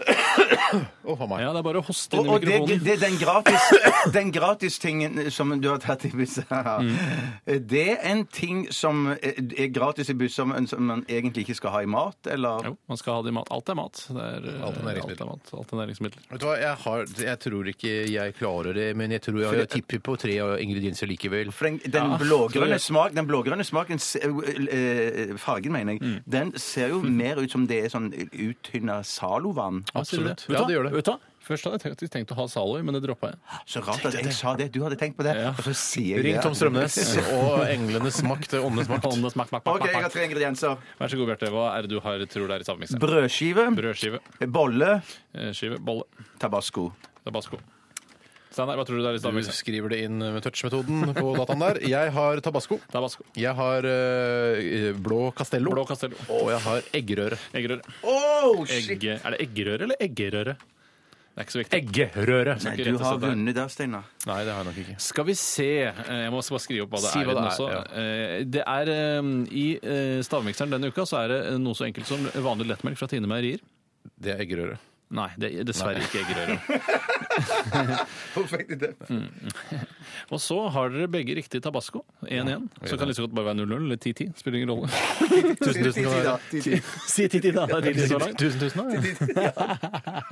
S5: Å, faen meg.
S6: Ja, det er bare å hoste
S4: Og,
S6: inn i
S4: og det,
S6: mikrofonen.
S4: det, den gratis Den gratistingen som du har tatt i bussa
S5: Mm.
S4: Det er en ting som er gratis i bussa, men som man egentlig ikke skal ha i mat, eller?
S6: Jo, man skal ha det i mat. Alt er mat. Det er, eh,
S5: Alt er næringsmiddel.
S6: mat. Alt er næringsmiddel.
S5: Vet du hva, jeg, har, jeg tror ikke jeg klarer det, men jeg tror jeg, jeg tipper på tre ingredienser likevel.
S4: For den, den blågrønne smak, den blågrønne smaken se- eh, Fargen, mener jeg.
S5: Mm.
S4: Den ser jo mer ut som det er sånn uttynna Zalo-vann.
S5: Absolutt.
S6: Vet du
S5: Ja,
S6: hva?
S5: det gjør det.
S6: Vet du hva? Først hadde jeg tenkt, tenkt å ha Zalo i, men det droppa jeg.
S4: Så rart at jeg sa det. Du hadde tenkt på det. Og så sier jeg
S5: Ring Tom
S4: det.
S5: Strømnes og englenes makt, åndenes makt.
S6: Åndenes makt, makt, makt,
S4: OK, jeg har
S6: makt,
S4: tre ingredienser.
S6: makt. Vær så god, Bjarte. Hva er det du har, tror det er i stavmikseren?
S4: Brødskive,
S6: Brødskive,
S4: bolle,
S6: eh, skive, bolle,
S4: tabasco.
S6: tabasco. Steinar, hva tror du det er i
S5: Du
S6: stavmikseren?
S5: skriver det inn med touch-metoden på dataen der. Jeg har tabasco.
S6: Tabasco.
S5: Jeg har eh, blå castello.
S6: Blå castello.
S5: Og jeg har eggerøre.
S6: Eggerøre.
S4: Oh, shit!
S6: Egge. Er det eggerøre eller eggerøre? Det er ikke så viktig.
S5: Eggerøre.
S4: Nei,
S6: ikke
S4: du
S6: rett og
S4: har
S6: slett der.
S4: vunnet der, Steinar.
S5: Nei, det har jeg nok ikke.
S6: Skal vi se Eh, Jeg må også bare skrive opp hva det
S5: Si
S6: er.
S5: hva det
S6: igjen
S5: er,
S6: også.
S5: ja.
S6: Eh, Det er eh, I eh, stavmikseren denne uka så er det eh, noe så enkelt som vanlig lettmelk fra Tine Meierier.
S5: Det er eggerøre.
S6: Nei, det er dessverre ikke eggerøre.
S4: Perfekt idé.
S6: Og så har dere begge riktig tabasco. 1-1. Så kan det like så godt bare være 0-0 eller 10-10. Spiller ingen rolle.
S5: Tusen, tusen, tusen,
S6: Si 10-10, da. Det er tidlig så langt.
S5: tusen, tusen takk.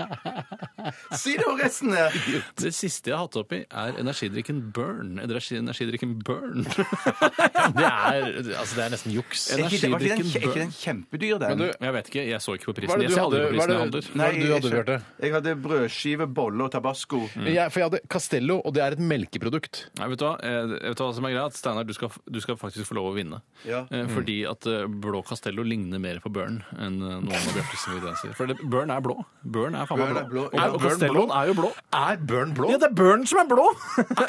S4: Si det, og resten eh. er
S6: Det siste jeg har hatt oppi, er energidrikken Burn. Eller energi- energidrikken Burn.
S5: Det er, altså, det er nesten juks.
S4: Er ikke, den- var ikke, den,
S6: Energidrikken
S4: er ikke
S6: Burn.
S4: den kjempedyr, den?
S5: Men du,
S6: Jeg vet ikke, jeg så ikke på
S5: Hva er
S6: prisen.
S5: det
S6: Jeg
S5: du
S6: ser aldri
S5: hadde,
S6: på
S5: hva er
S6: prisen jeg
S5: det,
S6: handler.
S5: hva er det du hadde,
S4: jeg,
S5: Bjarte?
S4: jeg hadde Mm. brødskive, bolle og tabasco.
S5: Jeg- Mm. For jeg hadde Castello, og det er et melkeprodukt.
S6: Nei, vet du hva, Eh, vet du hva som er greit? Steinar, du skal, du skal faktisk få lov å vinne.
S4: Ja. Mm.
S6: Eh, Fordi at eh, blå Castello ligner mer på Burn enn eh, noen av Bjørtes ingredienser. For det, Burn er blå. Burn er faen meg
S4: Burn er
S6: blå.
S4: blå, ja.
S6: Og, og Costelloen er jo blå.
S8: Er Børn blå?
S6: Ja, det er Burn som er blå!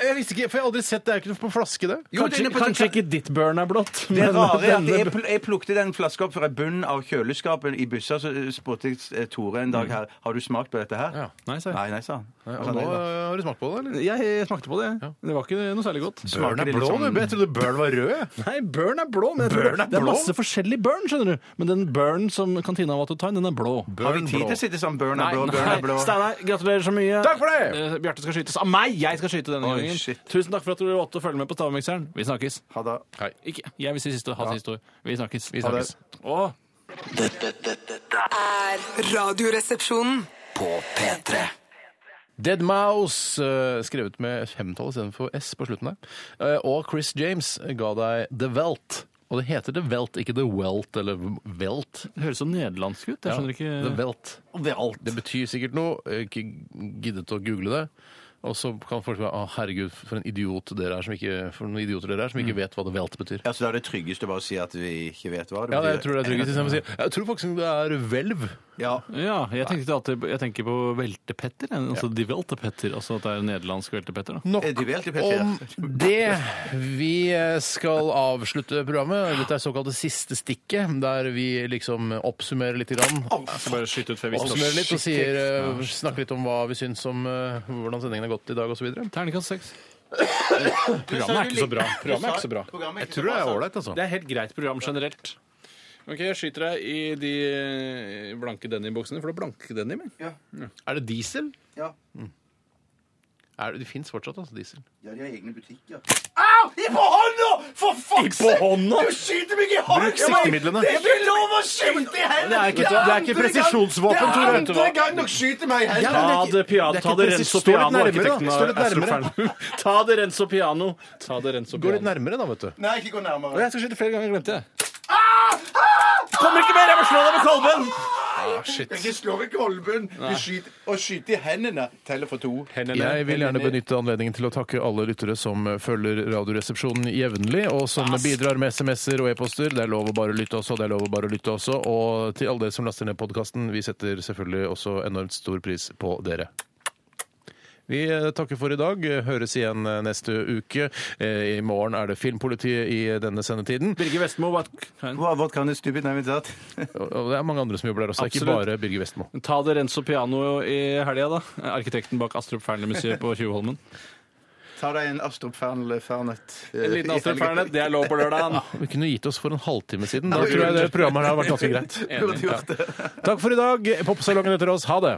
S5: Jeg visste ikke, for jeg har aldri sett det. er jo ikke noe på flaske, det.
S4: Jo, det er
S6: Kanskje,
S4: inne på-
S6: kanskje ikke ditt Burn er blått.
S4: Det
S6: men
S4: rare er at
S6: denne
S4: jeg, pl jeg plukte den flaska opp fra bunnen av kjøleskapet i bussa, så eh, spurte jeg eh, Tore en dag her har du smakt på dette her.
S5: Ja.
S6: Nei, sa jeg.
S4: Nei, nei, sa han.
S5: Og
S4: Altså,
S5: nå
S4: nei,
S5: eh,
S4: da.
S5: har du smakt på det, eller?
S6: Jeg, jeg smakte på det. Det var ikke noe særlig godt.
S5: Børn er
S4: det litt
S5: blå,
S4: sånn-
S5: du. Jeg trodde børn var rød. jeg.
S6: Nei, Burn er blå. Men jeg tror
S5: Burn er
S6: det- det er
S5: blå?
S6: masse forskjellig Burn, skjønner du. Men den Burn som kantina var til å ta inn, den er blå.
S4: Har vi tid til å sitte sånn burn er blå, burn
S6: nei.
S4: er blå?
S6: Steinar, gratulerer så mye.
S5: Takk for det!
S6: Eh, Bjarte skal skytes av meg! Jeg skal skyte denne
S4: Oi,
S6: gangen.
S4: shit.
S6: Tusen takk for at du valgte å følge med på Stavmikseren. Vi snakkes.
S4: Ha det.
S6: Ikke, jeg vil si siste, ha siste ord. Vi snakkes.
S5: Vi snakkes.
S6: Å,
S2: Dette, dette, dette
S7: er Radioresepsjonen.
S2: På P3
S5: Dead Mouse, eh, skrevet med femtall istedenfor S på slutten der. Eh, Og Chris James ga deg The Welt. Og det heter The Welt, ikke The Welt eller Welt.
S6: det høres så nederlandsk ut. Jeg
S5: Ja,
S6: skjønner ikke
S5: The Welt. Det betyr sikkert noe. Jeg har Ikke giddet å google det. Og så kan folk være Å, herregud, for en idiot dere er som ikke, for noen idioter dere er som ikke vet hva The Welt betyr.
S4: Ja, så da er det tryggeste bare å si at vi ikke vet hva det
S5: Ja, jeg
S4: betyr.
S5: tror det er tryggest. istedenfor å si, Jeg tror faktisk det er hvelv.
S4: Ja.
S6: Ja, jeg, tenkte alltid, jeg tenker på veltepetter. jeg. Altså de veltepetter. Altså at det er nederlandsk veltepetter. da.
S5: Nok
S4: Er de vel til Petter?
S5: om det. Vi skal avslutte programmet. Dette er såkalte siste stikket, der vi liksom oppsummerer litt. Grann.
S6: Jeg skal bare skyte ut før vi
S5: Oppsummerer litt og
S6: Shit.
S5: sier, eh, snakker litt om hva vi syns om eh, hvordan sendingen har gått i dag osv.
S6: Terningkast seks. Programmet er ikke så bra. Programmet er ikke så bra.
S5: Jeg tror det er ålreit, altså.
S6: Det er helt greit program generelt. Ok, Jeg skyter deg i de eh, blanke denim-boksene, for det er blanke denim. jeg.
S5: Er det diesel? Mm.
S4: Ja.
S5: Er det, det fins fortsatt, altså. Diesel.
S4: Ja, de har egne butikker. Au! I på hånda! For fuck's
S6: på hånda?
S4: Du skyter meg i hånda!
S5: Bruk siktemidlene.
S4: Det er ikke lov å skyte i hendene!
S5: Det er ikke- det er ikke
S4: andre gang-
S5: presisjonsvåpen, Tore.
S4: Det er andre gang dere skyter meg i hendene!
S6: Ta det, pia
S5: det er
S6: ta
S5: ikke
S6: det
S5: presis-
S6: Renzo
S5: stå litt
S6: Piano,
S5: nærmere, da.
S6: arkitekten
S5: Stå litt
S6: av Astro
S5: nærmere.
S6: Fern. Ta det Renzo Piano. Ta det Renzo
S5: Gå litt
S6: Piano.
S5: nærmere, da, vet du.
S4: Nei, ikke gå nærmere.
S6: Jeg skal skyte flere ganger, glemte jeg. Kommer ikke mer! Jeg må slå deg med kolben!
S4: Ikke slå meg i kolben. Du skyter, å skyte i hendene teller for to.
S5: Jeg vil gjerne benytte anledningen til å takke alle lyttere som følger Radioresepsjonen jevnlig, og som bidrar med SMS-er og e-poster. Det er lov å bare lytte også, det er lov å bare lytte også. Og til alle dere som laster ned podkasten, vi setter selvfølgelig også enormt stor pris på dere. Vi eh, takker for i dag. Høres igjen eh, neste uke. Eh, I morgen er det Filmpolitiet i denne sendetiden.
S6: Birger Vestmo, hva
S4: Hva, hva kan du stupid nei, men tatt?
S5: Og og det er mange andre som jobber der også, ikke
S6: Absolutt.
S5: bare Birger Vestmo.
S6: Ta det Renzo Piano i helga, da. Arkitekten bak Astrup Fearnley-museet på Tjuvholmen.
S4: Ta deg en Astrup Fernet. eh,
S6: En liten Astrup Fearnley, det er lov på lørdagen.
S5: Vi kunne gitt oss for en halvtime siden. Da tror jeg det programmet her har vært ganske greit.
S6: Enig.
S5: Takk for i dag. Popsalongen etter oss. Ha det.